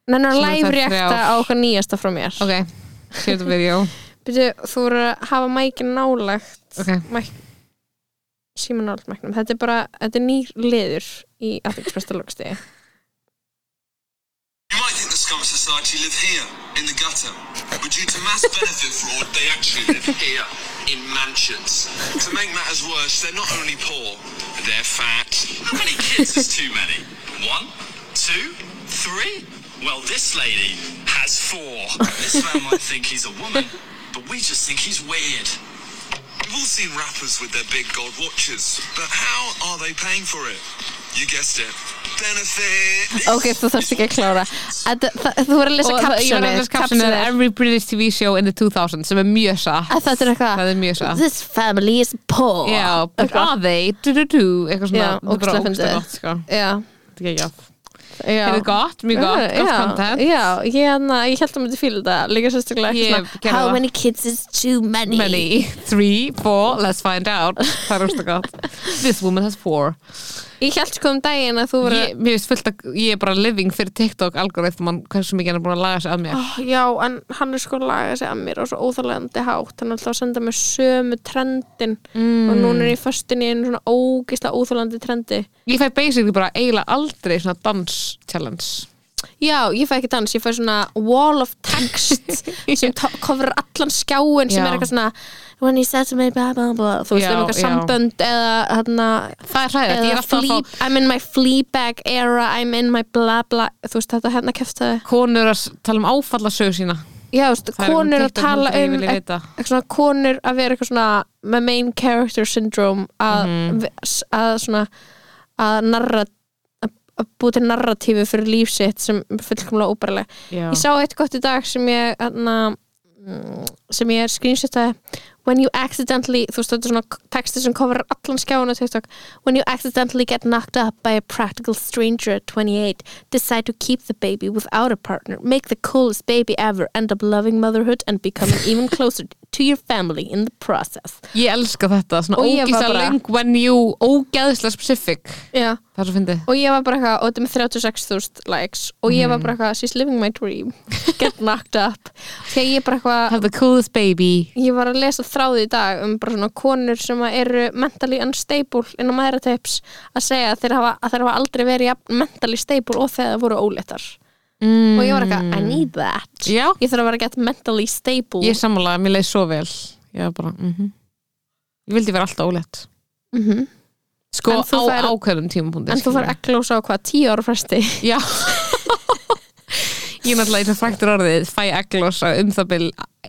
C: Nennar að
B: Sem er
C: live
B: þær
C: reakta
B: þrjár.
C: á okkar nýjasta frá mér
B: ok, sér þetta byrjó
C: Byrju, þú voru að hafa mækin nálagt
B: ok,
C: mæk, síma nálægt mæknum þetta er bara, þetta er nýr liður í aðeinspresta lókstegi
D: You might think the scum society live here, in the gutter, but due to mass benefit fraud, they actually live here, in mansions. To make matters worse, they're not only poor, they're fat. How many kids is too many? One, two, three? Well, this lady has four. This man might think he's a woman, but we just think he's weird. We've all seen rappers with their big gold watches, but how are they paying for it? You guessed it. Benefit.
C: Ok, þú þarfst ekki að klára að, það, Þú voru að lesa
B: og það- ég var að
C: kapsunni
B: þess kapsinu every British TV show in the 2000 sem er mjög satt
C: Að þetta er eitthvað
B: það er mjög satt
C: This family is poor
B: Já, but
C: Eitthvað.
B: are they? Du, du, du, eitthvað svona
C: Já,
B: þetta er bara
C: ógeðslega
B: ógeðslega
C: fyndið.
B: gott, sko.
C: Já,
B: Þetta er
C: Já.
B: geggjað. Heyrðu, gott, mjög gott,
C: Já,
B: gott
C: já,
B: content.
C: Já, ég, hérna, ég held að myndi fíla þetta líka sérstaklega ekki
B: Ég gerði það.
C: kids is too many?
B: Many, three, four, let's find out Það er óslega gott This woman has four
C: Ég held sko um daginn að þú verið
B: ég, Mér finnst fullt að ég er bara living fyrir TikTok algoritman Hversu mikið hann er búin að laga sig að mér
C: oh, Já, en hann er sko að laga sig að mér og svo óþarlegandi hátt hann er alltaf að senda mér sömu trendin mm. og núna er ég föstin í einu svona ógisla óþarlegandi trendi
B: Ég fæ basically bara eiginlega aldrei svona dans challenge
C: Já, ég fæ ekki dans, ég fæ svona wall of text sem tó- coverar allan skjáin sem
B: Já.
C: er eitthvað svona when he said to me blah blah blah þú veist
B: Já,
C: um eitthvað
B: já.
C: sambönd eða hérna
B: Það er hræðið, ég er
C: eða
B: alltaf að fá
C: flea, I'm in my fleabag era I'm in my blah blah þú veist þetta hérna keftaði
B: konur að s- tala um áfallasögu sína
C: já, þú veist,
B: Það er um
C: konur að
B: TikTok
C: tala
B: sem ég
C: um
B: vilja
C: eit-
B: vita.
C: eitthvað svona konur að vera eitthvað svona með main character syndrome að,
B: Mhm.
C: að svona að narra að- að búið til narratífu fyrir líf sitt sem er fullkomlega óbærilega
B: Já.
C: ég sá eitt gott í dag sem ég anna, sem ég er screenshotaði when you accidentally þú veist þetta er svona texti sem kofar allan skjáinu TikTok when you accidentally get knocked up by a practical stranger at 28 decide to keep the baby without a partner make the coolest baby ever end up loving motherhood and becoming even closer to your family in the process
B: Ég elska þetta, svona
C: Og ég var
B: ógeðslega
C: bara-
B: leng when you, ógeðslega specific
C: yeah.
B: Það er svo fyndið
C: og ég var bara eitthvað og þetta er með 36.000 likes og ég var bara eitthvað she's living my dream get knocked up því að ég bara eitthvað
B: Have the coolest baby
C: ég var að lesa þráði í dag um bara svona konur sem að eru mentally unstable inn á maðuratips að segja að þeir hafa, að þeir hafa aldrei verið jafn mentally stable og þegar það voru óléttar mm. og ég var eitthvað, I need that
B: Já.
C: ég þarf að vera að get mentally stable
B: Ég sammála, mér leið svo vel Ég var bara, mhm Ég vildi vera alltaf ólétt
C: Mhm.
B: Sko
C: En
B: á
C: þú fær-
B: ákveðum tímapunkti
C: en þú fær
B: skilurðu.
C: ekki lósa á hvað, tíu ára fresti
B: Já Ég er náttúrulega eins og fræktur orðið fæ egglosa um það bil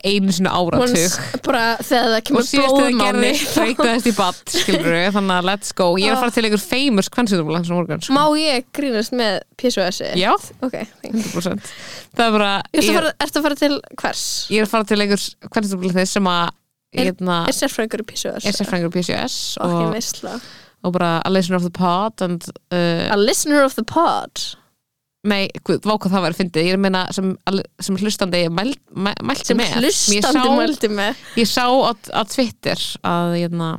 B: einu sinni áratug
C: Once- bara þegar það
B: og
C: kemur
B: síðast þegar gerði
C: blóðmáni
B: freytaðist í bad skilur við, þannig að let's go Ég er að fara til einhver famous kvennsýtumúla hans og morgun sko.
C: má ég grínast með PSOS -ið?
B: Já,
C: ok, thank you
B: 100% Það er bara,
C: Ertu
B: ég,
C: að fara- ertu að fara til hvers?
B: ég er að fara til einhver kvennsýtumúla þess sem að hérna,
C: er sérfræðingur í PSOS?
B: er sérfrængur PCS
C: ok,
B: og,
C: veistla
B: og bara a listener of the pod and, uh,
C: a listener of the pod
B: nei, guð, vá hvað það var fyndið, ég er að meina sem, sem hlustandi ég mæl, mæl, mælti
C: sem
B: með Ég
C: hlustandi
B: sá-
C: mældi með
B: Ég sá á, á Twitter að hérna,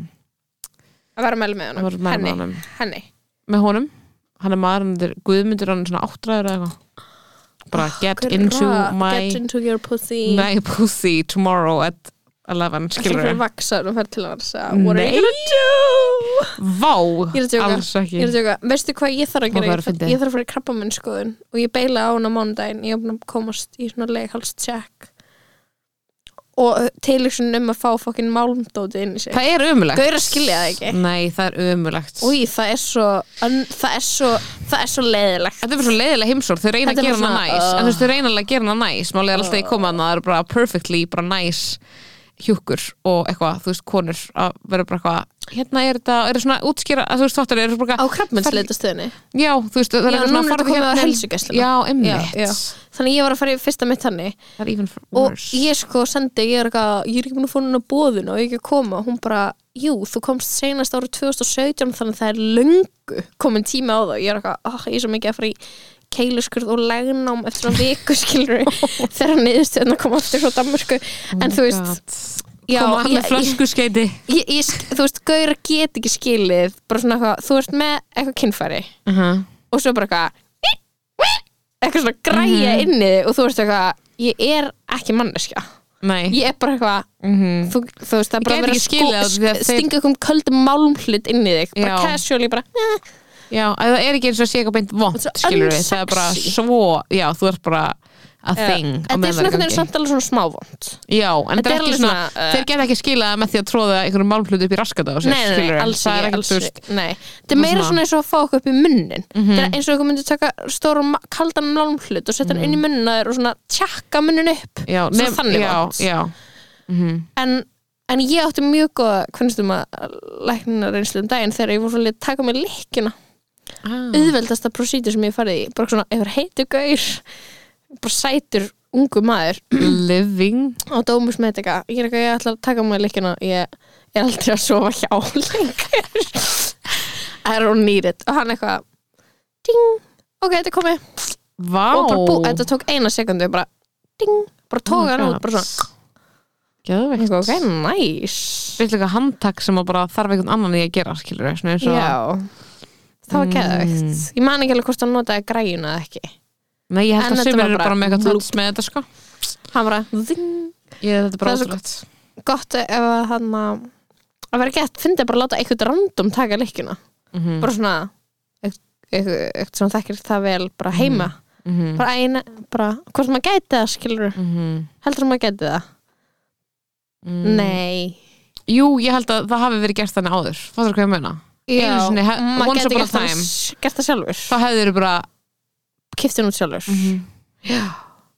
C: að vera að mæla með
B: að var
C: honum,
B: maður með
C: henni,
B: honum
C: henni.
B: með honum, hann er maður hann er Guðmundur, hann er svona áttræður eða eitthvað bara get into
C: Hurra,
B: my
C: get into your pussy
B: my pussy tomorrow at
C: skilur
B: 11 skilur
C: við
B: við
C: vaksar og fer til hans að what are
B: Nei,
C: you gonna do
B: vá,
C: Ég er að djóka.
B: alls ekki
C: ég er að tjóka, veistu hvað ég þarf að
B: Má
C: gera
B: það
C: ég
B: vera fyndið.
C: þarf, ég þarf að fara í krabbamennskoðun og ég beila á hún á mánudaginn ég er búin að komast í svona leghalscheck og tilhugsun um að fá fokkin málmdóti inn í sig
B: Það er ömulegt
C: Gaurar skilja það ekki.
B: Nei, það er ömulegt
C: Új, það er svo un- það er svo, það er svo leiðilegt
B: Þetta er bara svo leiðilega heimsór, þau reyna
C: Þetta
B: að
C: er
B: gera
C: bara
B: hana
C: svona, uh.
B: næs En þú veist, þau reyna alveg að gera hana næs Málið er alltaf í koma hana, það eru bara perfectly bara næs hjúkur og eitthvað, þú veist, konur að vera bara eitthvað hérna er þetta, eru svona útskýra að þú veist, þáttur eru bara
C: á
B: eitthvað
C: krabbamennsleitastöðinni
B: Já, þú veist, það
C: Já,
B: eitthvað
C: núna er þetta
B: farðu
C: komið á
B: hérna-
C: heilsugæsluna.
B: Já,
C: Já, já.
B: emmitt,
C: þannig ég var að fara í fyrsta mitt hannig
B: það er even
C: og
B: worse
C: ég sko sendi, ég er, eitthvað, ég er ekki búin að fóna hún á bóðun og ég er ekki að koma hún bara, jú, þú komst senast árið 2017 þannig að það er löngu komin tími á það, ég er eitthvað, oh, ég er svo mikið að fara í keiluskurð og legnám eftir svona viku skilur þegar niðurstöðna kom aftur frá Danmörku
B: Oh
C: en þú veist, já,
B: Koma hann
C: ég,
B: með flöskuskeiti
C: ég, ég, sk- þú veist, Gaura get ekki skilið bara svona eitthvað, þú ert með eitthvað kynfæri og svo bara eitthvað "Eh, eitthvað svona græja
B: Mhm.
C: inni í þig og þú veist eitthvað, ég er ekki manneskja
B: Nei,
C: ég er bara eitthvað þú, þú veist, það er bara
B: Mhm. gæti
C: að vera
B: ekki skilið
C: sko-
B: það
C: sk-
B: því að þeir-
C: stinga eitthvað um köldum málmhlut inn í þig bara
B: Já.
C: casually, bara eh,
B: já, að það er ekki eins og að sé eitthvað beint vont,
C: Þetta er svo
B: skilur við Það er bara
C: unsexy.
B: svo, já, þú ert bara a thing á
C: þetta er svona
B: meðan það er í
C: einhvern veginn
B: gangi.
C: samt alveg svona smávont
B: Já, en þetta er ekki
C: alveg
B: svona,
C: svona, uh,
B: þeir geta ekki skilað með því að tróða einhverjum málmhlutu upp í raskata á sér
C: nei, nei, nei,
B: skilurðu.
C: alls
B: Það er
C: ekki,
B: ekkert,
C: alls
B: þú veist, Mhm.
C: ekki nei. þetta er meira
B: svona-
C: svona eins og að fá okkur upp í munnin þetta er eins og eitthvað myndi taka stórum kaldan málmhlut og setja hann inn
B: Mhm.
C: í munnin að þér og svona tjakka munnin upp
B: Já,
C: Svona
B: nef,
C: þannig
B: já,
C: vont.
B: já,
C: en, en ég átti mjög góða hvernig stum að læknina reynslu um daginn þegar ég voru svolítið að taka mig líkina
B: ah,
C: auðveldasta prosítur sem ég hef farið í bara svona, ef það heitir gaur bara sætur ungu maður
B: Living
C: og dómus með þetta ég er eitthvað, ég ætla að taka mig líkina ég er aldrei að sofa hjá lengur I don't need it og hann eitthvað ding, ok, þetta er komið
B: Vá
C: og bara bú, þetta tók eina sekundu bara ding, bara tóka
B: Oh
C: hann út bara svona,
B: Gjöðvegt
C: ok, nice
B: Vill eitthvað handtak sem að bara þarf einhvern annan í að gera skilur svona eins og
C: já það var geðveikt
B: Mm.
C: ég man ekki alveg hvort hann notaði græjuna eða ekki
B: Nei,
C: En
B: ég held að
C: þetta
B: sumir
C: var
B: eru
C: bara
B: bara með eitthvað
C: bloop.
B: touch með þetta sko
C: hann bara ding,
B: Ég, þetta er
C: Það
B: bara
C: er svo-
B: ótrúlegt
C: gott ef að hann að að vera gett, fyndi bara að láta eitthvað random taka leikina,
B: Mhm.
C: bara svona eitt- eitthvað eitthvað sem hann þekkir það vel
B: Mm.
C: bara heima,
B: Mhm.
C: bara eina bara, hvort maður gæti það skilur
B: Mhm.
C: heldur maður gæti það,
B: Mm.
C: nei
B: Jú, ég held að það hafi verið gert þannig áður Fattur hvað ég meina? Einu sinni, he-
C: maður
B: once
C: gæti
B: upon a
C: gert það
B: time.
C: s- gert það sjálfur,
B: Það hefur bara
C: kiftin út sjálfur
B: Mhm. en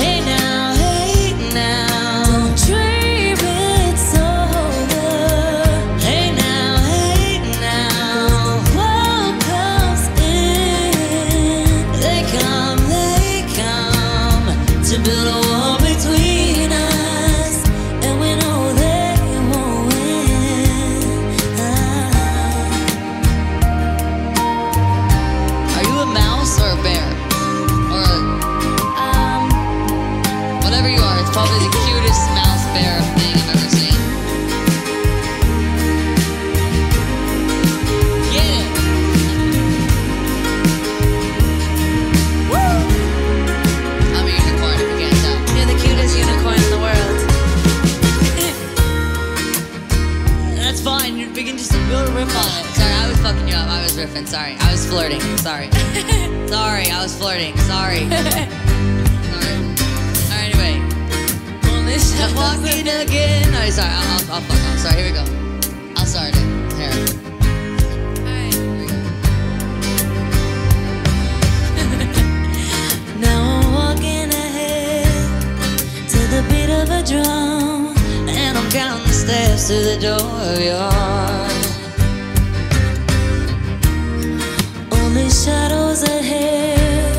E: Hey now, hey now, don't dream it's over. Hey now, hey now, world comes in. They come, they come to build a wall between us, and we know they won't win. Are you a mouse or a bear or Um. Whatever you are, it's probably the cutest mouse bear thing I've ever seen. Get it! Woo! I'm a unicorn if you can't tell. You're the cutest unicorn in the world. That's fine, you can just build a riff on it. Sorry, I was fucking you up. I was riffing, sorry. I was flirting, sorry. sorry, I was flirting, sorry. sorry. Alright, anyway. I'm walking again. Oh, sorry. I'll, I'll, I'll fuck off. Sorry, here we go. I'll start it. Here. Here we go. Now I'm walking ahead to the beat of a drum, and I'm counting the steps to the door of your heart. Only shadows ahead,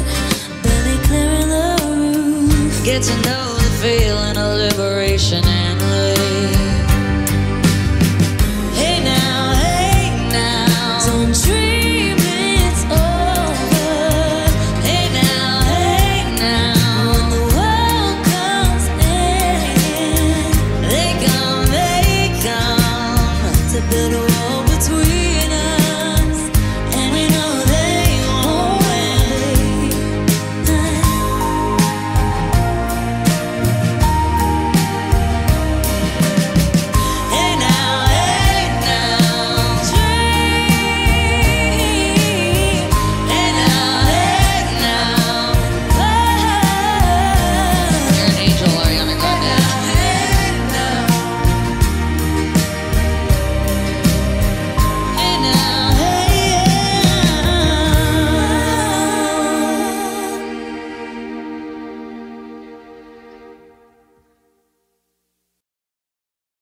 E: barely clearing the roof. Get to know the feeling of liberation and relief. Hey now, hey now, don't dream it's over. Hey now, hey now, when the world comes in, they come, they come to build a wall between.